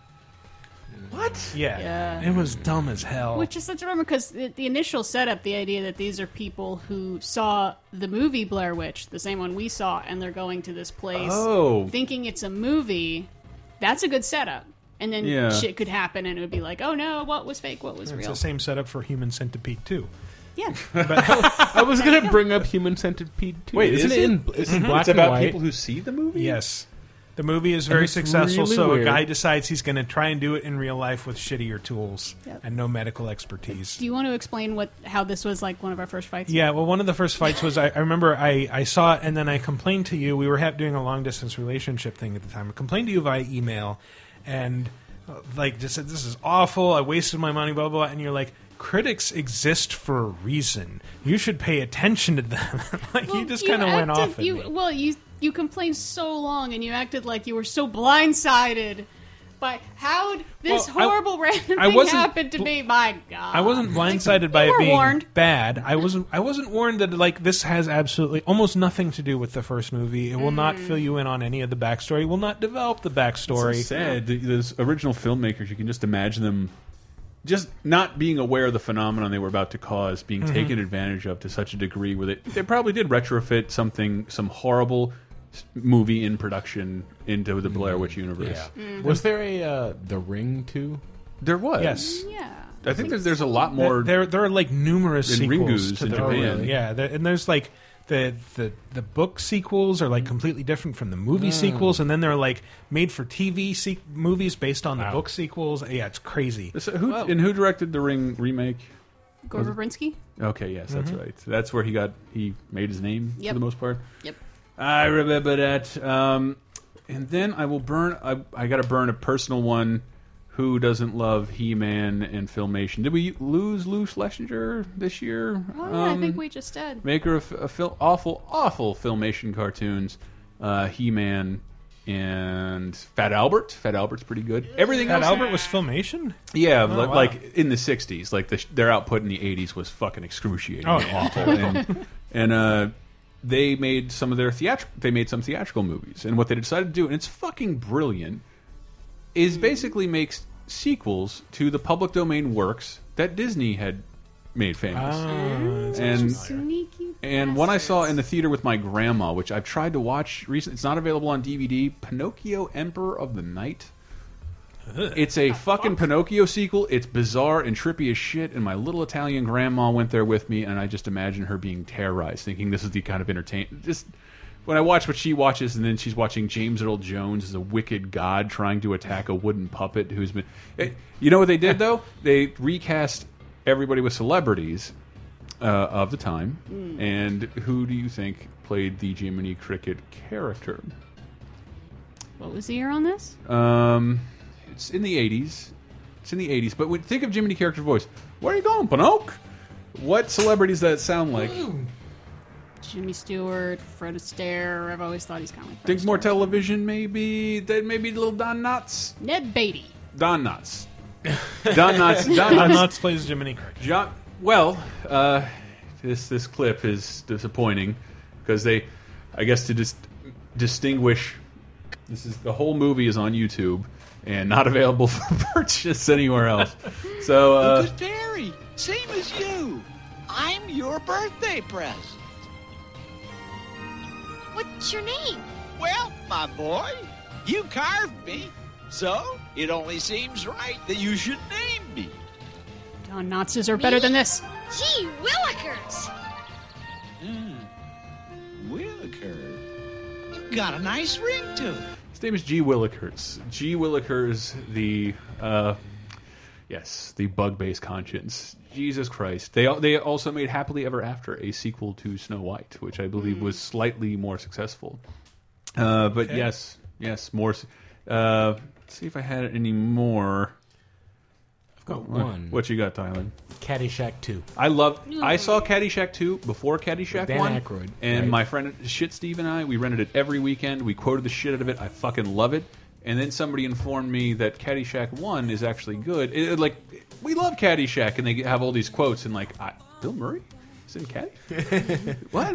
what?
Yeah. It was dumb as hell.
Which is such a bummer because the, the initial setup, the idea that these are people who saw the movie Blair Witch, the same one we saw, and they're going to this place
Oh.
thinking it's a movie, that's a good setup. And then
Yeah.
shit could happen, and it would be like, oh no, what was fake, what was
it's
real.
the same setup for Human Centipede too.
Yeah.
I was going to bring up Human Centipede too.
Wait,
isn't
is
it
it?
in it's in
Mhm.
black
It's
and
about
white?
people
who see the movie?
Yes. The movie is
And
very
it's
successful,
really
so
weird.
a guy decides he's going to try and do it in real life with shittier tools
Yep.
and no medical expertise.
Do you want to explain what how this was like one of our first fights?
Yeah, well, one of the first fights was I, I remember I, I saw it and then I complained to you. We were ha- doing a long distance relationship thing at the time. I complained to you via email and uh, like just said, This is awful. I wasted my money, blah, blah, blah. And you're like, Critics exist for a reason. You should pay attention to them. like, you just kind of went
acted-
off. at
you-
me.
Well, you you complained so long, and you acted like you were so blindsided by how this
Well, I-
horrible random
I
thing
wasn't
happened to
bl-
me. My God,
I wasn't blindsided by
You
it
were
being
warned.
bad. I wasn't. I wasn't warned that like this has absolutely almost nothing to do with the first movie. It will not
Mm.
fill you in on any of the backstory. It will not develop the backstory.
It's so sad. Th- Those original filmmakers, you can just imagine them just not being aware of the phenomenon they were about to cause, being
Mhm.
taken advantage of to such a degree where they, they probably did retrofit something, some horrible s- movie in production into the Blair Witch universe.
Yeah.
Mm.
Was there a uh, The Ring too?
There was.
Yes.
Yeah.
I think there's, there's a lot more.
There, there are like numerous
than
sequels
Ringu's
to
in
the
Japan.
original. Yeah, there, and there's like the, the the book sequels are like completely different from the movie
Mm.
sequels, and then they're like made for TV se- movies based on the book sequels. Yeah, it's crazy.
So who, and who directed the Ring remake?
Gore
Was it-
Verbinski?
Okay, yes, that's
Mhm.
right. That's where he got he made his name for
Yep.
the most part.
Yep.
I remember that. Um, and then I will burn. I, I got to burn a personal one. Who doesn't love He-Man and Filmation? Did we lose Lou Schlesinger this year?
Oh, yeah, I
Um,
think we just did.
maker of, of fil awful, awful filmation cartoons, uh, He-Man and Fat Albert. Fat Albert's pretty good. Everything
Fat
else,
Albert was filmation.
yeah,
Oh,
li-
wow.
like in the '60s, like the, sh- their output in the '80s was fucking excruciating,
Oh,
and
yeah.
awful, and, and uh, they made some of their theatrical. They made some theatrical movies, and what they decided to do, and it's fucking brilliant, is basically makes sequels to the public domain works that Disney had made famous,
Ah,
and
Sneaky.
and one I saw in the theater with my grandma, which I've tried to watch recently. It's not available on DVD. Pinocchio, Emperor of the Night. It's a fucking Pinocchio sequel. It's bizarre and trippy as shit. And my little Italian grandma went there with me, and I just imagine her being terrorized, thinking this is the kind of entertainment. Just when I watch what she watches, and then she's watching James Earl Jones as a wicked god trying to attack a wooden puppet who's been. Eh, you know what they did though? They recast everybody with celebrities uh, of the time.
Mm.
And who do you think played the Jiminy Cricket character?
What was the year on this?
Um, it's in the '80s. It's in the '80s. But when, think of Jiminy character voice. Where are you going, Pinocchio? What celebrities does that sound like?
Jimmy Stewart, Fred Astaire. I've always thought he's kind of like Fred
Think more television, maybe. Then maybe little Don Knotts.
Ned Beatty.
Don Knotts. Don Knotts. Don
Don
Knotts.
Knotts plays Jiminy Cricket.
John. Well, uh, this this clip is disappointing because they, I guess, to just distinguish This is the whole movie is on YouTube and not available for purchase anywhere else. So uh,
Good fairy, same as you. I'm your birthday present. What's your name? Well, my boy, you carved me, so it only seems right that you should name me.
Don Knotts are better than this.
Gee, Willikers!
Willikers. You've got a nice ring to it.
his name is G. Willikers. G. Willikers, the uh, yes, the bug-based conscience. Jesus Christ! They al- they also made Happily Ever After, a sequel to Snow White, which I believe was slightly more successful. Uh, but
Mm. Okay.
yes, yes, more. s- Uh, let's see if I had any more. I've
got one.
What you got, Tyler?
Caddyshack 2.
I love. I saw Caddyshack two before Caddyshack
Dan
one,
Aykroyd,
and
right.
my friend Shit Steve and I we rented it every weekend. We quoted the shit out of it. I fucking love it. And then somebody informed me that Caddyshack one is actually good. It- it, like we love Caddyshack, and they have all these quotes and like I, Bill Murray is in Caddy. what?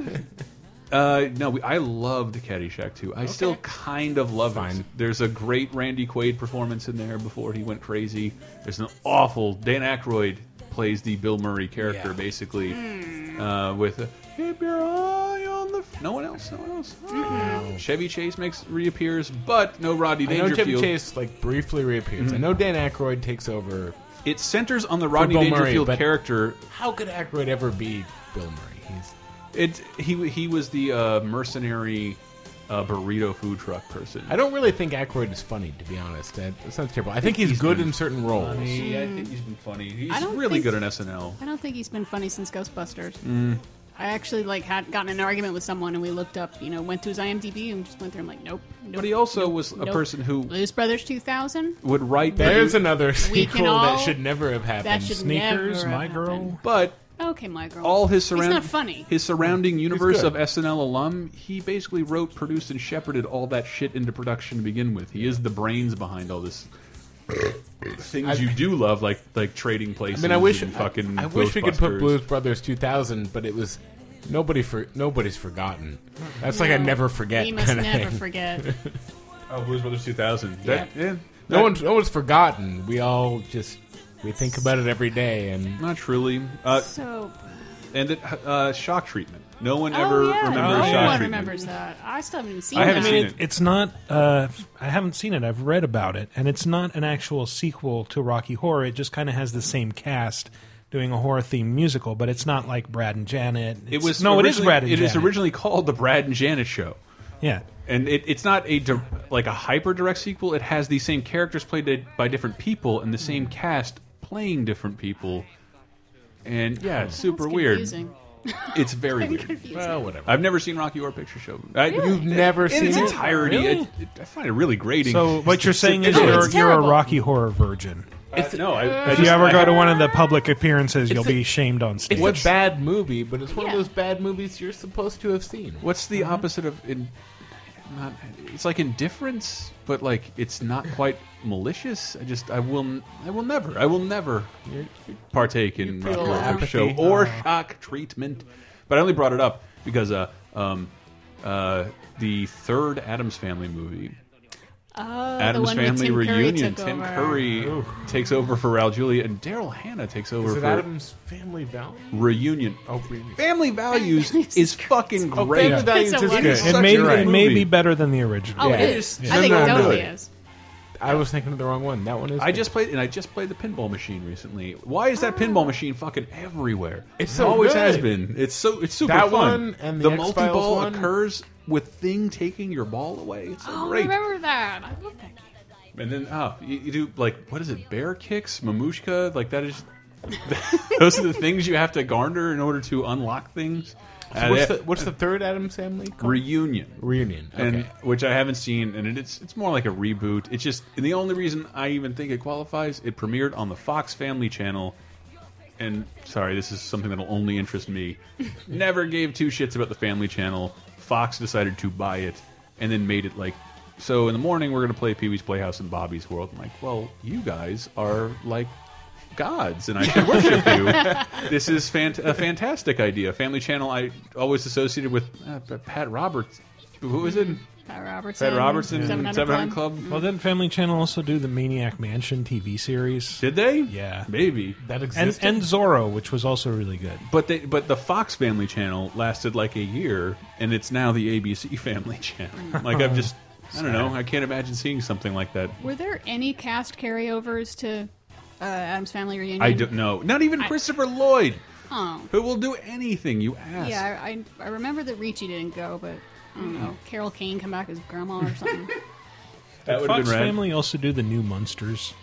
Uh, no, we, I loved Caddyshack too. I still kind of love it. There's a great Randy Quaid performance in there before he went crazy. There's an awful Dan Aykroyd plays the Bill Murray character basically uh, with a, keep your eye on the no one else, no one else. Ah. Chevy Chase makes reappears, but no Rodney
I know
Dangerfield.
Chevy Chase like briefly reappears.
Mhm.
I know Dan Aykroyd takes over.
It centers on the
for
Rodney
Bill Murray,
Dangerfield
but
character.
How could Aykroyd ever be Bill Murray? He's
It he he was the uh, mercenary uh, burrito food truck person.
I don't really think Aykroyd is funny, to be honest. That, that sounds terrible. I think he's, good
been
in certain roles.
funny. I think he's been funny.
Hmm. I
He's
don't
really good
think-
in SNL.
I don't think he's been funny since Ghostbusters.
Mm.
I actually like had gotten in an argument with someone and we looked up, you know, went to his IMDb and just went through. I'm like, nope. nope
But he also was a
nope.
person who
Blues Brothers 2000.
would write.
There's another
We can
sequel
all-
that should never have happened.
That should never have happened.
But
Okay, my girl.
all his
He's
surround
not funny.
his surrounding universe of
good.
SNL alum, he basically wrote, produced, and shepherded all that shit into production to begin with. He is the brains behind all this. Things
I-
you do love, like like trading
I
places.
mean, I wish
and fucking.
I, I wish we could put
Ghostbusters.
Blues Brothers 2000, but it was nobody for nobody's forgotten. That's like I
No.
never forget.
We must
kinda
never
thing.
forget.
Oh, Blues Brothers 2000.
Yeah.
That, yeah.
No
That-
one's no one's forgotten. We all just we think about it every day, and
not truly. Uh,
so
and it, uh, shock treatment. No one
Oh,
ever
yeah,
remembers
no
shock
one
treatment.
remembers that. I still haven't seen.
I haven't
that.
seen
it- It's not. Uh, I haven't seen it. I've read about it, and it's not an actual sequel to Rocky Horror. It just kind of has the same cast doing a horror themed musical, but it's not like Brad and Janet.
It
It's-
was
no, it is
originally-
Brad and
It
Janet.
is originally called the Brad and Janet Show.
Yeah.
and it, it's not a di- like a hyper direct sequel. It has the same characters played di- by different people and the same cast playing different people. And yeah, it's super
That's
weird.
confusing.
It's very
I'm
weird.
confused.
Well, whatever.
I've never seen Rocky Horror Picture Show. I,
Really? You've never
in
seen
its
it?
entirety.
Really?
I, I find it really grating.
So what you're saying is
It's-
you're,
it's
you're a
terrible.
Rocky Horror virgin.
Uh, no, I, I
If you
just-
ever
I
go to
have-
one of the public appearances, you'll
It's a-
be shamed on stage.
it's a bad movie, but it's one of those bad movies you're supposed to have seen.
What's the
Mm-hmm.
opposite of in? Not, it's like indifference, but like it's not quite malicious. I just I will n- I will never I will never partake in
feel
Rocky Horror
apathy.
Picture
Uh-huh.
Show or shock treatment. But I only brought it up because uh um uh the third Adams Family movie.
Oh, the
Adams
one with
Family
Tim Curry
reunion.
took
Tim
over.
Curry takes over for Raul Julia, and Daryl Hannah takes over
Is it
for
Adam's Family Value?
reunion.
Oh, reunion.
Family Values is fucking
Oh,
great.
Family Values It's a is good. wonderful
Such
It
a
may,
great
it may
movie.
be better than the original.
Oh, it is. I think it totally is.
I was thinking of the wrong one. That one is.
I just played, and I just played the pinball machine recently. Why is that pinball machine fucking everywhere?
It's
It
so
always
good.
has been. It's so it's super
That
fun.
one and the X-Files
multi-ball
one.
occurs with thing taking your ball away. It's so
Oh,
great.
I remember that. I love that.
And then oh, you, you do like what is it? Bear kicks, mamushka. Like that is. those are the things you have to garner in order to unlock things. Uh,
So what's, the, what's the third Adam's Family? called?
Reunion.
Reunion. Okay.
and which I haven't seen, and it, it's it's more like a reboot. It's just and the only reason I even think it qualifies, it premiered on the Fox Family Channel, and sorry, this is something that'll only interest me. Never gave two shits about the Family Channel. Fox decided to buy it, and then made it like. So in the morning we're gonna play Pee Wee's Playhouse and Bobby's World. I'm like, well, you guys are like gods, and I should worship you. This is fant a fantastic idea. Family Channel I always associated with uh, Pat Roberts Who is it?
Pat Robertson.
Fred Robertson, 700, Club.
Well, didn't Family Channel also do the Maniac Mansion TV series?
Did they?
Yeah,
maybe
that And, and Zorro, which was also really good.
But they, but the Fox Family Channel lasted like a year, and it's now the ABC Family Channel. Like I've just, I don't know, I can't imagine seeing something like that.
Were there any cast carryovers to uh, Adam's Family Reunion?
I don't know. Not even
I-
Christopher Lloyd,
Oh.
who will do anything you ask.
Yeah, I, I I remember that Ricci didn't go, but I don't know.
Mm-hmm.
Carol Kane come back as grandma or something.
That
Did
would've
Fox
been rad.
Family also do the New Munsters.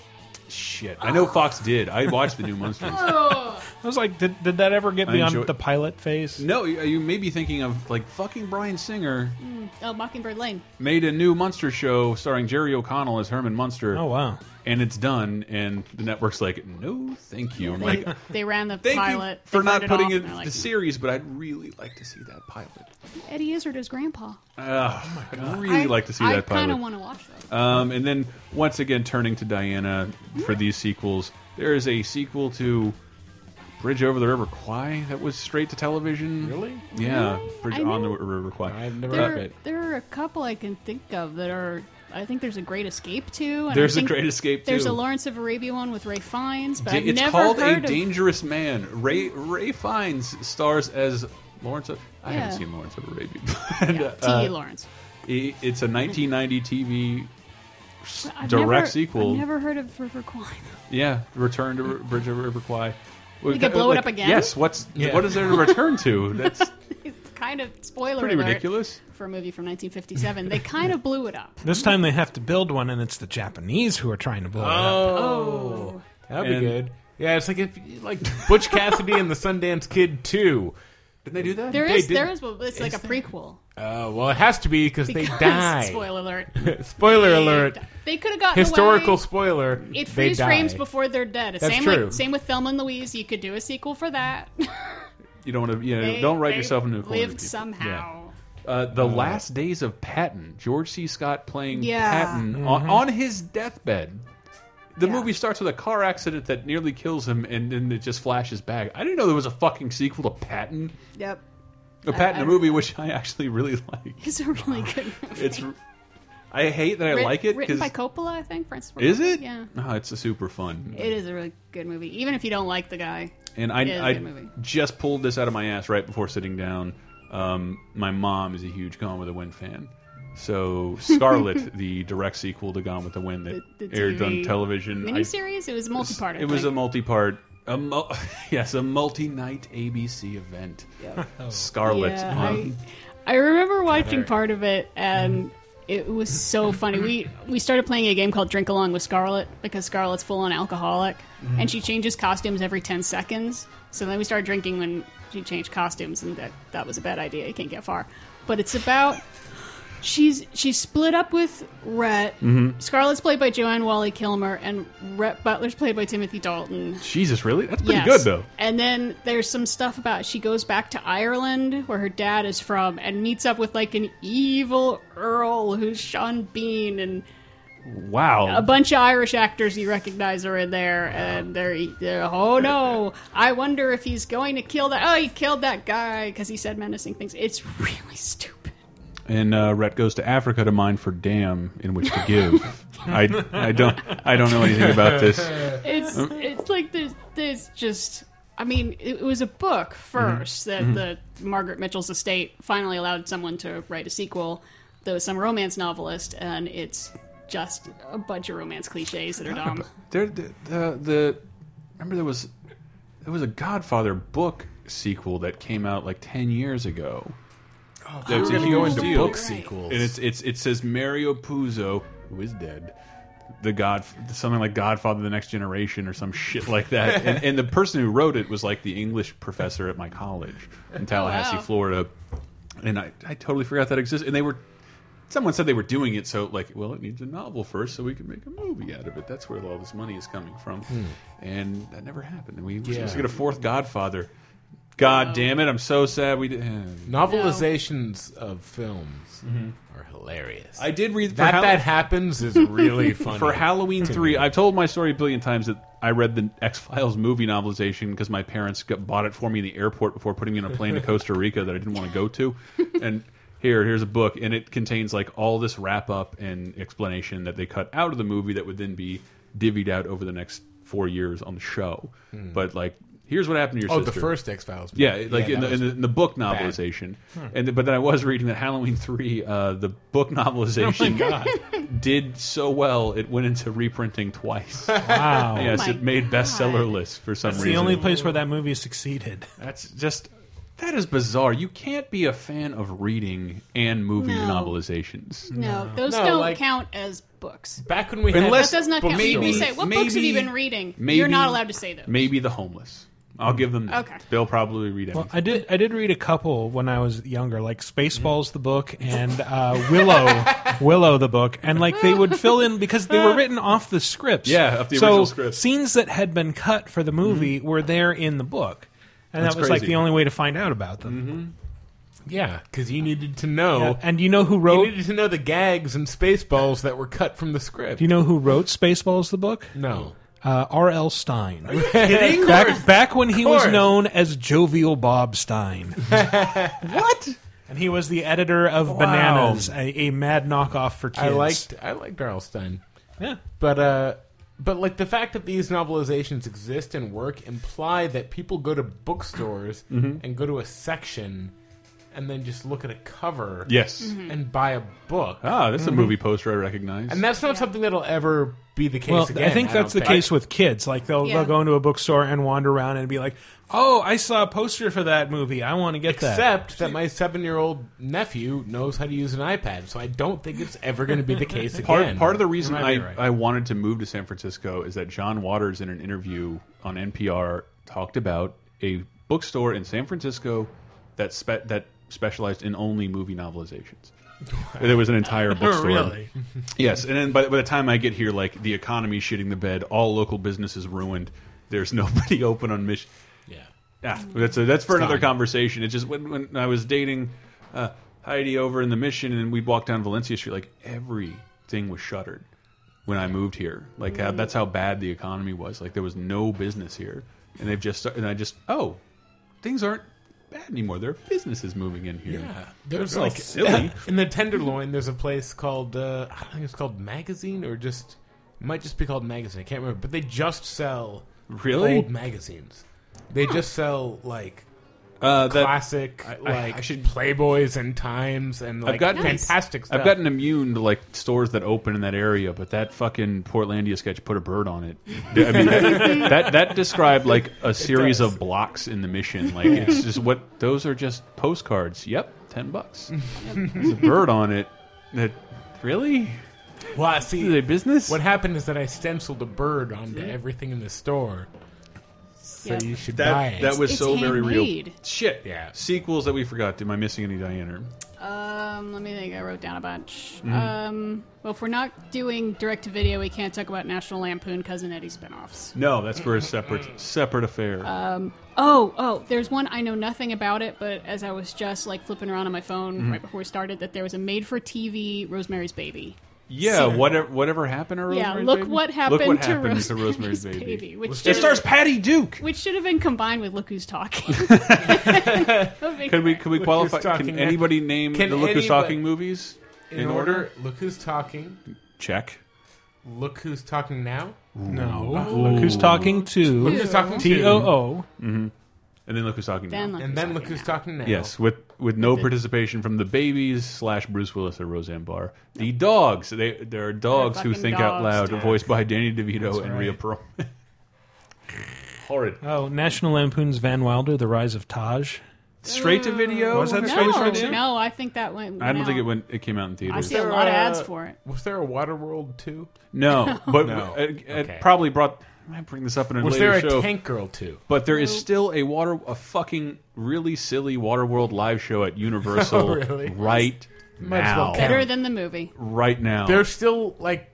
Shit, I know Fox did. I watched the New Monsters.
I was like, did, did that ever get
I
beyond
enjoy-
the pilot phase?
No, you, you may be thinking of like fucking Brian Singer
Mm, oh, Mockingbird Lane.
made a new Munster show starring Jerry O'Connell as Herman Munster.
Oh, wow.
And it's done, and the network's like, no, thank you. I'm
They,
like,
they ran the
Oh thank
pilot
you for
they
not
turned it
putting
off,
it
and
in
they're
the
like,
series, but I'd really like to see that pilot.
Eddie Izzard as grandpa.
Ugh, I'd really
Oh I-
like to see
I
that pilot.
kinda wanna watch that.
Um, and then once again, turning to Diana for these sequels, there is a sequel to Bridge Over the River Kwai that was straight to television.
Really?
Yeah,
Really?
Bridge
I
on the
know-
River Kwai. I've never
there, are, there are a couple I can think of that are. I think there's a Great Escape too. And I
There's a
think
Great Escape,
There's
too.
a Lawrence of Arabia one with Ray Fiennes, but
Da-
I've
it's
never
called
heard
A
of.
Dangerous Man. Ray Ray Fiennes stars as Lawrence. Of, I
Yeah.
haven't seen Lawrence of Arabia. and, uh,
T.E. Lawrence.
i- It's a 1990 TV s-
I've
direct
never-
sequel.
I've never heard of River Kwai.
Yeah, Return to R- Bridge Over River Kwai.
We could blow it up again?
Yes. What's
Yeah.
what is there to return to? That's
It's kind of spoiler
Pretty
alert
ridiculous.
for a movie from 1957. They kind of blew it up.
This time they have to build one, and it's the Japanese who are trying to blow
Oh. That'd be
And-
good. Yeah, it's like if like Butch Cassidy and the Sundance Kid two.
Didn't they do that?
There is there is well, it's like a prequel.
Uh, well, it has to be because they
Because-
die.
spoiler alert.
spoiler
They
alert.
die. They could've gotten
historical
away.
spoiler.
It
they
freeze
die.
frames before they're dead.
That's
same
true.
Like, same with Thelma and Louise. You could do a sequel for that.
you don't want to. You know,
They-
don't write
they
yourself into a corner.
lived
people.
somehow.
Yeah. Uh, the last days of Patton. George C. Scott playing
Yeah.
Patton on, on his deathbed. The movie starts with a car accident that nearly kills him, and then it just flashes back. I didn't know there was a fucking sequel to Patton.
Yep.
A
I-
Patton
I-
a movie which I actually really like.
It's a really good movie.
It's. I hate that I
Writ-
like it
Written
because
by Coppola, I think. Francis Ford
is
Coppola.
it? Hmm.
Yeah.
No, it's a super fun.
It is a really good movie, even if you don't like the guy.
And
it is a
I,
good
I
movie.
just pulled this out of my ass right before sitting down. Um, my mom is a huge Gone with the Wind fan. So Scarlet, the direct sequel to Gone with the Wind that
The
aired on
TV
television. I-
miniseries. it was a multi-part. I
it was a
think.
multi-part, a mul yes, a multi-night ABC event.
Yeah.
Scarlet.
Yeah,
um,
I, I remember watching
Heather.
part of it, and it was so funny. We we started playing a game called Drink Along with Scarlet because Scarlet's full on alcoholic,
Mhm.
and she changes costumes every ten seconds. So then we started drinking when she changed costumes, and that that was a bad idea. You can't get far. But it's about she's she's split up with Rhett.
Mhm.
Scarlet's played by Joanne Wally Kilmer, and Rhett Butler's played by Timothy Dalton.
Jesus, really? That's pretty
Yes.
good though.
And then there's some stuff about she goes back to Ireland, where her dad is from, and meets up with like an evil earl who's Sean Bean, and
Wow.
a bunch of Irish actors you recognize are in there. And they're, they're, oh no, I wonder if he's going to kill that. Oh, he killed that guy because he said menacing things. It's really stupid.
and uh, Rhett goes to Africa to mine for dam in which to give. I, I don't I don't know anything about this.
It's
Um,
it's like there's there's just I mean it, it was a book 1st that
Mhm.
the Margaret Mitchell's estate finally allowed someone to write a sequel. There was some romance novelist, and it's just a bunch of romance cliches that are dumb.
There, the, the, the remember there was there was a Godfather book sequel that came out like ten years ago.
Oh,
That was
we're
a
gonna go
huge
into
deal.
book sequels.
and it's it's it says Mario Puzo, who is dead. The God, something like Godfather: The Next Generation, or some shit like that. and, and the person who wrote it was like the English professor at my college
Oh,
in Tallahassee,
wow.
Florida. And I, I totally forgot that existed. And they were, someone said they were doing it. So like, well, it needs a novel first, so we can make a movie out of it. That's where all this money is coming from. And that never happened. And we were supposed to
Hmm. Yeah.
get a fourth Godfather. God damn it! I'm so sad we eh. didn't.
Novelizations of films are hilarious.
Mm-hmm. I did read for
that.
Hall-
that happens is really funny.
For Halloween
to
three,
me.
I've told my story a billion times that I read the X Files movie novelization because my parents got, bought it for me in the airport before putting me on a plane to Costa Rica that I didn't want to go to, and here, here's a book, and it contains like all this wrap up and explanation that they cut out of the movie that would then be divvied out over the next four years on the show.
Hmm.
But like, here's what happened to your
Oh, the
sister.
first X-Files movie.
Yeah, like
Yeah, that
in, the, in,
was
the, in the book
bad.
novelization.
Hmm.
And th- but then I was reading that Halloween three, uh, the book novelization,
Oh my
did so well it went into reprinting twice.
Wow. Oh
yes,
my
it made bestseller lists for some
That's
reason.
the only place where that movie succeeded.
That's just that is bizarre. You can't be a fan of reading and movie
No.
novelizations.
No, those
No,
don't
like-
count as books.
Back when we had-
Unless
that does not
but
count.
maybe-
we say, what books have you
maybe-
been reading?
maybe-
You're not allowed to say those.
Maybe the homeless. I'll give them that.
Okay.
They'll probably read
Well,
anything.
I did. I did read a couple when I was younger, like Spaceballs the book and uh, Willow, Willow the book, and like they would fill in because they were written off the scripts.
Yeah, off the
so
original scripts. Mm-hmm.
Scenes that had been cut for the movie were there in the book, and
That's
that was like
crazy.
the only way to find out about them.
Mm-hmm.
Yeah, because you needed to know.
Yeah, and you know who wrote?
You needed to know the gags and spaceballs that were cut from the script.
Do you know who wrote Spaceballs the book?
No.
Uh, R.L. Stein.
kidding? Of course.
back, back when he
Of
was
course.
known as Jovial Bob Stein. what? And he was the editor of Bananas, a, a mad knockoff for kids.
I liked I liked R.L. Stein.
Yeah.
But uh but like the fact that these novelizations exist and work imply that people go to bookstores
Mm-hmm.
Mhm.
and go to a section and then just look at a cover
Yes.
Mm-hmm.
Mhm.
and buy a book.
Oh.
Ah, that's
Mm-hmm.
Mhm.
a movie poster I recognize.
And that's not something that'll ever be the case
Well,
again.
I think that's the
don't
case with kids. Like they'll
Yeah.
they'll go into a bookstore and wander around and be like, "Oh, I saw a poster for that movie. I want to get that."
Except that my seven-year-old nephew knows how to use an iPad, so I don't think it's ever going to be the case again.
Part, part of the reason
You might
I,
be right.
I wanted to move to San Francisco is that John Waters, in an interview on NPR, talked about a bookstore in San Francisco that spe that specialized in only movie novelizations. There was an entire bookstore.
Really?
Yes, and then by, by the time I get here, like the economy shitting the bed, all local business is ruined. There's nobody open on mission.
Yeah.
Yeah, that's a, that's for
Mm. It's
another
gone.
conversation. It's just when, when I was dating uh, Heidi over in the Mission, and we'd walk down Valencia Street, like everything was shuttered when I moved here. Like uh, that's how bad the economy was. Like there was no business here, and they've just and I just oh, things aren't bad anymore. There are businesses moving in here.
Yeah, there's
They're all
like
silly.
in the Tenderloin. There's a place called uh, I think it's called Magazine or just it might just be called Magazine. I can't remember, but they just sell
Really?
old magazines. They just sell like
Uh, that-
classic
I- I-
like
I should-
Playboys and Times and like
I've gotten
fantastic stuff.
I've gotten immune to like stores that open in that area, but that fucking Portlandia sketch put a bird on it. I mean, that, that that described like a series of blocks in the mission. Like it's just what those are just postcards. Yep, ten bucks. There's a bird on it. That really?
Well, I see,
a business.
What happened is that I stenciled a bird onto everything in the store, so
Yeah.
you should
That
buy it.
that was
It's
so very real.
handmade.
Shit. Yeah. Sequels that we forgot. Am I missing any Diana?
Um, let me think. I wrote down a bunch.
Mhm.
Um, well, if we're not doing direct to video, we can't talk about National Lampoon Cousin Eddie spinoffs.
No, that's for a separate separate affair.
Um, oh, oh, there's one I know nothing about it, but as I was just like flipping around on my phone
Mhm.
right before we started, that there was a made-for-TV Rosemary's Baby.
Yeah, whatever whatever happened to
Yeah,
Rosemary's
look
Baby?
what happened
Look what
to
happened to
Rosemary's
Rosemary's Baby.
Baby, which
it
should-
stars Patty Duke.
Which should have been combined with Look Who's Talking.
Can we can we
Look
qualify?
Who's Talking
Can
next.
anybody name
Can
the Look Who's
anybody-
Talking movies
in, order, Look who's talking.
Check.
Look who's talking now.
No. Look who's talking to.
Look who's talking to.
T O O.
Mm-hmm. And then Look Who's Talking.
Then
now.
Look And Who's then Look Talking Who's Now. Talking Now.
Yes, with with no
With the-
participation from the babies slash Bruce Willis or Roseanne Barr. The dogs. They there are dogs who
fucking
think out loud,
dogs, dude.
voiced by Danny DeVito
That's
and
right.
Rhea Perlman. Horrid.
Oh, National Lampoon's Van Wilder: The Rise of Taj.
Straight to video?
Was that
no,
straight to video?
No, I think that went.
I don't
no.
think it went. It came out in theaters.
I see a lot of ads for it.
Was there a Waterworld too?
No, but
No.
It, it
Okay.
probably brought. I might bring this up in a
Was
later
there a
show.
Tank Girl too?
But there is still a water, a fucking really silly Waterworld live show at Universal
Oh, really?
right
Might as well
now.
Better than the movie.
right now.
There's still like,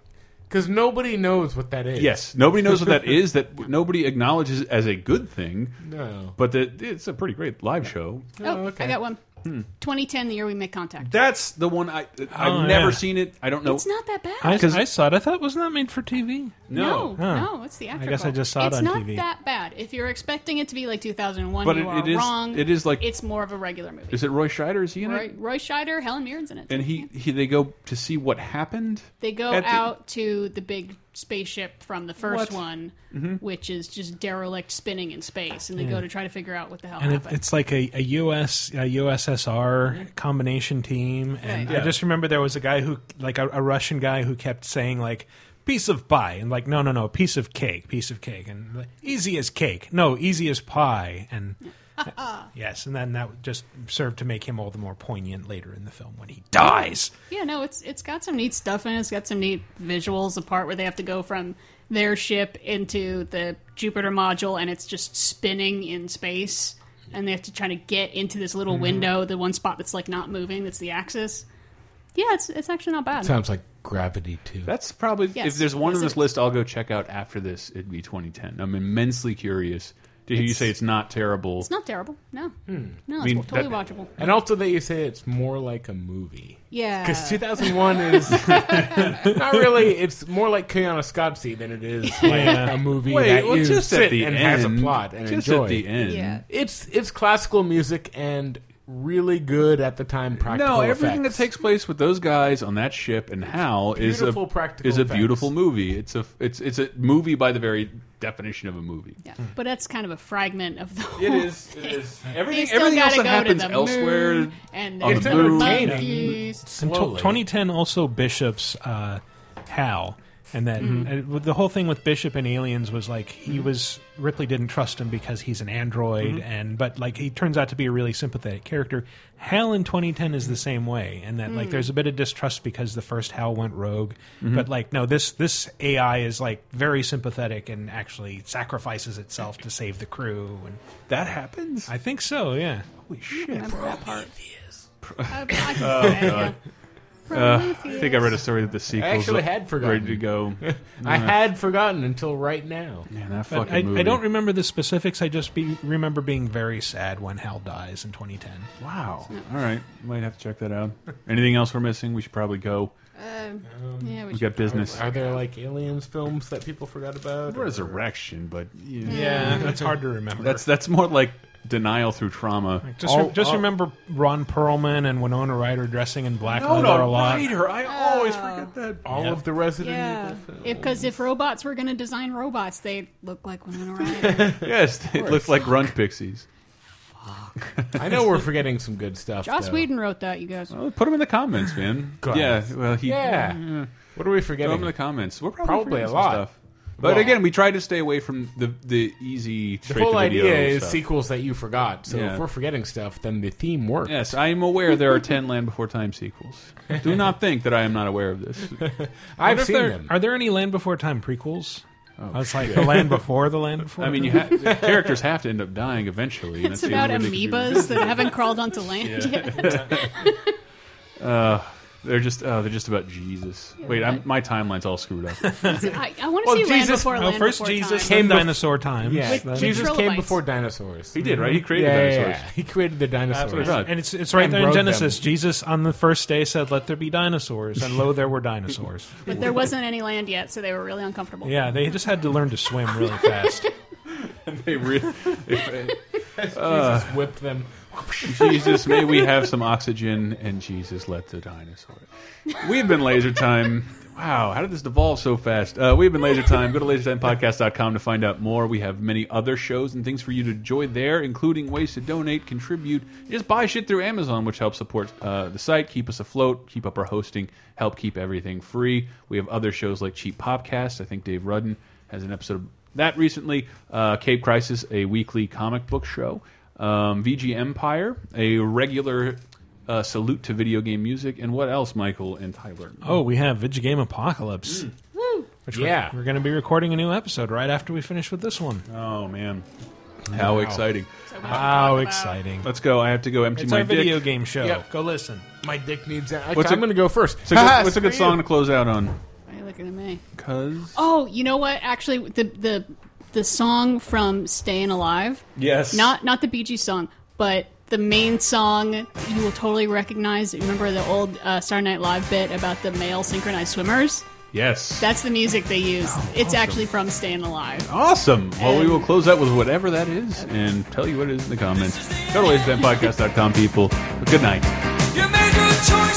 because nobody knows what that is.
yes, nobody knows what that is. That nobody acknowledges as a good thing.
No.
but that it's a pretty great live show.
Oh, I got one.
Hmm.
2010, the year we make contact.
That's the one I I've
Oh,
never
yeah.
seen it. I don't know.
It's not that bad.
I, I saw it. I thought wasn't that made for TV?
No,
Huh.
no, it's the
I guess I just saw
it's
it on
not
TV.
that bad. If you're expecting it to be like 2001,
But
you
it-
are
it is-
wrong.
it is like-
it's more of a regular movie.
Is it Roy Scheider? Is he in
Roy,
it?
Roy Scheider, Helen Mirren's in it.
And he, he they go to see what happened.
They go
At the-
out to the big spaceship from the first
What?
one,
Mhm.
which is just derelict spinning in space, and they
Yeah.
go to try to figure out what the hell
and it,
happened. Mm-hmm.
it's like a, a US a USSR combination team. And
Right.
I just remember there was a guy who, like a, a Russian guy, who kept saying like piece of pie and like no no no piece of cake piece of cake and like, easy as cake no easy as pie and yes and then that just served to make him all the more poignant later in the film when he dies
Yeah, no, it's it's got some neat stuff in it. It's got some neat visuals. The part where they have to go from their ship into the Jupiter module, and it's just spinning in space, and they have to try to get into this little
Mm-hmm.
Mhm.
window, the one spot that's like not moving, that's the axis. Yeah, it's it's actually not bad.
Sounds like Gravity too.
That's probably
Yes.
if there's one on
Is it-
this list, I'll go check out after this. It'd be 2010. I'm immensely curious to hear you
It's-
say it's not terrible.
it's not terrible. No, no, it's
Hmm. I mean,
totally
that-
watchable.
And also that you say it's more like a movie.
Yeah.
Because 2001 is not really, it's more like Koyaanisqatsi than it is like
Yeah.
a movie
Wait,
that
well,
you
just at
sit
the
and has a
end.
plot and
Just at
enjoy.
the end. Yeah.
It's, it's classical music and really good at the time practical
no, everything
effects.
that takes place with those guys on that ship and how is a
Beautiful practical
is a
effects.
beautiful movie. It's a it's it's a movie by the very definition of a movie.
Yeah, but that's kind of a fragment of the. Whole
It is. It is. Everything-
still
everything else that
gotta go to
happens
the
elsewhere
moon and
on
the
the moon.
monkeys.
And tw- 2010 also Bishop's uh, Hal, and that
Mhm.
uh, the whole thing with Bishop and aliens was like he was Ripley didn't trust him because he's an android,
Mhm.
and but like he turns out to be a really sympathetic character. Hal in 2010 is the same way, and that like
Mm.
there's a bit of distrust because the first Hal went rogue,
Mhm.
but like no, this this AI is like very sympathetic and actually sacrifices itself to save the crew. And
that happens,
I think so. Yeah.
Holy shit!
God.
Uh, I think I read a story that the sequel
I actually had forgotten.
ready to go.
I had forgotten until right now.
Man, that
But
fucking
I,
movie.
I don't remember the specifics. I just be, remember being very sad when Hal dies in 2010.
Wow. All right, might have to check that out. Anything else we're missing? We should probably go.
Um, yeah, we
we
should-
got business.
Are, are there like aliens films that people forgot about? or-
Resurrection, but yeah,
Yeah, that's hard to remember.
That's that's more like denial through trauma.
Just, re- just
Oh,
remember Ron Perlman and Winona Ryder dressing in black
Winona
leather a lot.
Ryder,
Oh.
I always forget that.
All
Yeah.
of the Resident
Yeah,
Evil films.
because if, robots were going to design robots, they look like Winona Ryder.
yes, it looked like grunt pixies.
I know we're forgetting some good stuff.
Joss
though.
Whedon wrote that, you
Oh,
guys.
Well, Oh, put them in the comments, man.
Guns.
Yeah, well, he.
Yeah. What are we forgetting?
Throw them in the comments. We're probably,
Probably
forgetting
a
some
lot.
Stuff. But
Well-
again, we try to stay away from the the easy.
The
straight
whole
to video
idea is
stuff.
sequels that you forgot. So
Yeah.
if we're forgetting stuff, then the theme works.
Yes, I am aware there are ten Land Before Time sequels. Do not think that I am not aware of this.
What if there- Are there any Land Before Time prequels?
Oh,
I was like
shit.
the Land Before the Land Before.
I mean, you
Time?
ha- characters have to end up dying eventually. and
It's
that's the
about
only way they can do
amoebas
this.
that haven't crawled onto land yet.
Uh, they're just uh, they're just about Jesus. Wait, I'm, my timeline's all screwed up.
I, I want to
Well,
see land
Jesus-
before
well,
land
first
before
Jesus,
time.
then
Came bef-
dinosaur times.
Yeah,
With- with
Jesus came
trilobites.
before dinosaurs.
He did, right? He created
Yeah, yeah,
dinosaurs.
yeah. He created the dinosaurs.
what I thought.
and it's it's right
And
there in
broke them.
Genesis. Jesus on the first day said, "Let there be dinosaurs," and lo, there were dinosaurs.
But there wasn't any land yet, so they were really uncomfortable.
Yeah, they just had to learn to swim really fast.
they really.
Jesus
Uh,
whipped them.
Jesus, may we have some oxygen, and Jesus, let the dinosaur. We've been Laser Time. Wow, how did this devolve so fast? Uh, we've been Laser Time. Go to lasertimepodcast.com to find out more. We have many other shows and things for you to enjoy there, including ways to donate, contribute, just buy shit through Amazon, which helps support uh, the site, keep us afloat, keep up our hosting, help keep everything free. We have other shows like Cheap Popcast. I think Dave Rudden has an episode of that recently. Uh, Cape Crisis, a weekly comic book show. Um, VG Empire, a regular uh, salute to video game music. And what else, Michael and Tyler?
Oh, we have Video Game Apocalypse. Which we're-
Mm. Yeah.
We're, going to be recording a new episode right after we finish with this one.
Oh, man. How
Wow.
exciting.
How exciting.
Let's go. I have to go empty
It's
my
our
dick.
video game show.
Yep.
Go listen.
My dick needs. Actually,
What's a-
I'm going to go first.
What's a good, what's a good song to close out on?
Why are you looking at me?
Because.
Oh, you know what? Actually, the the the song from Staying Alive.
Yes.
Not not the Bee Gees song, but the main song you will totally recognize. Remember the old uh, Saturday Night Live bit about the male synchronized swimmers?
Yes.
That's the music they use. it's actually from Staying Alive.
Awesome. Well, we will close out with whatever that is and tell you what it is in the comments. Go to LaserTimePodcast.com, people. But good night.
You made your choice.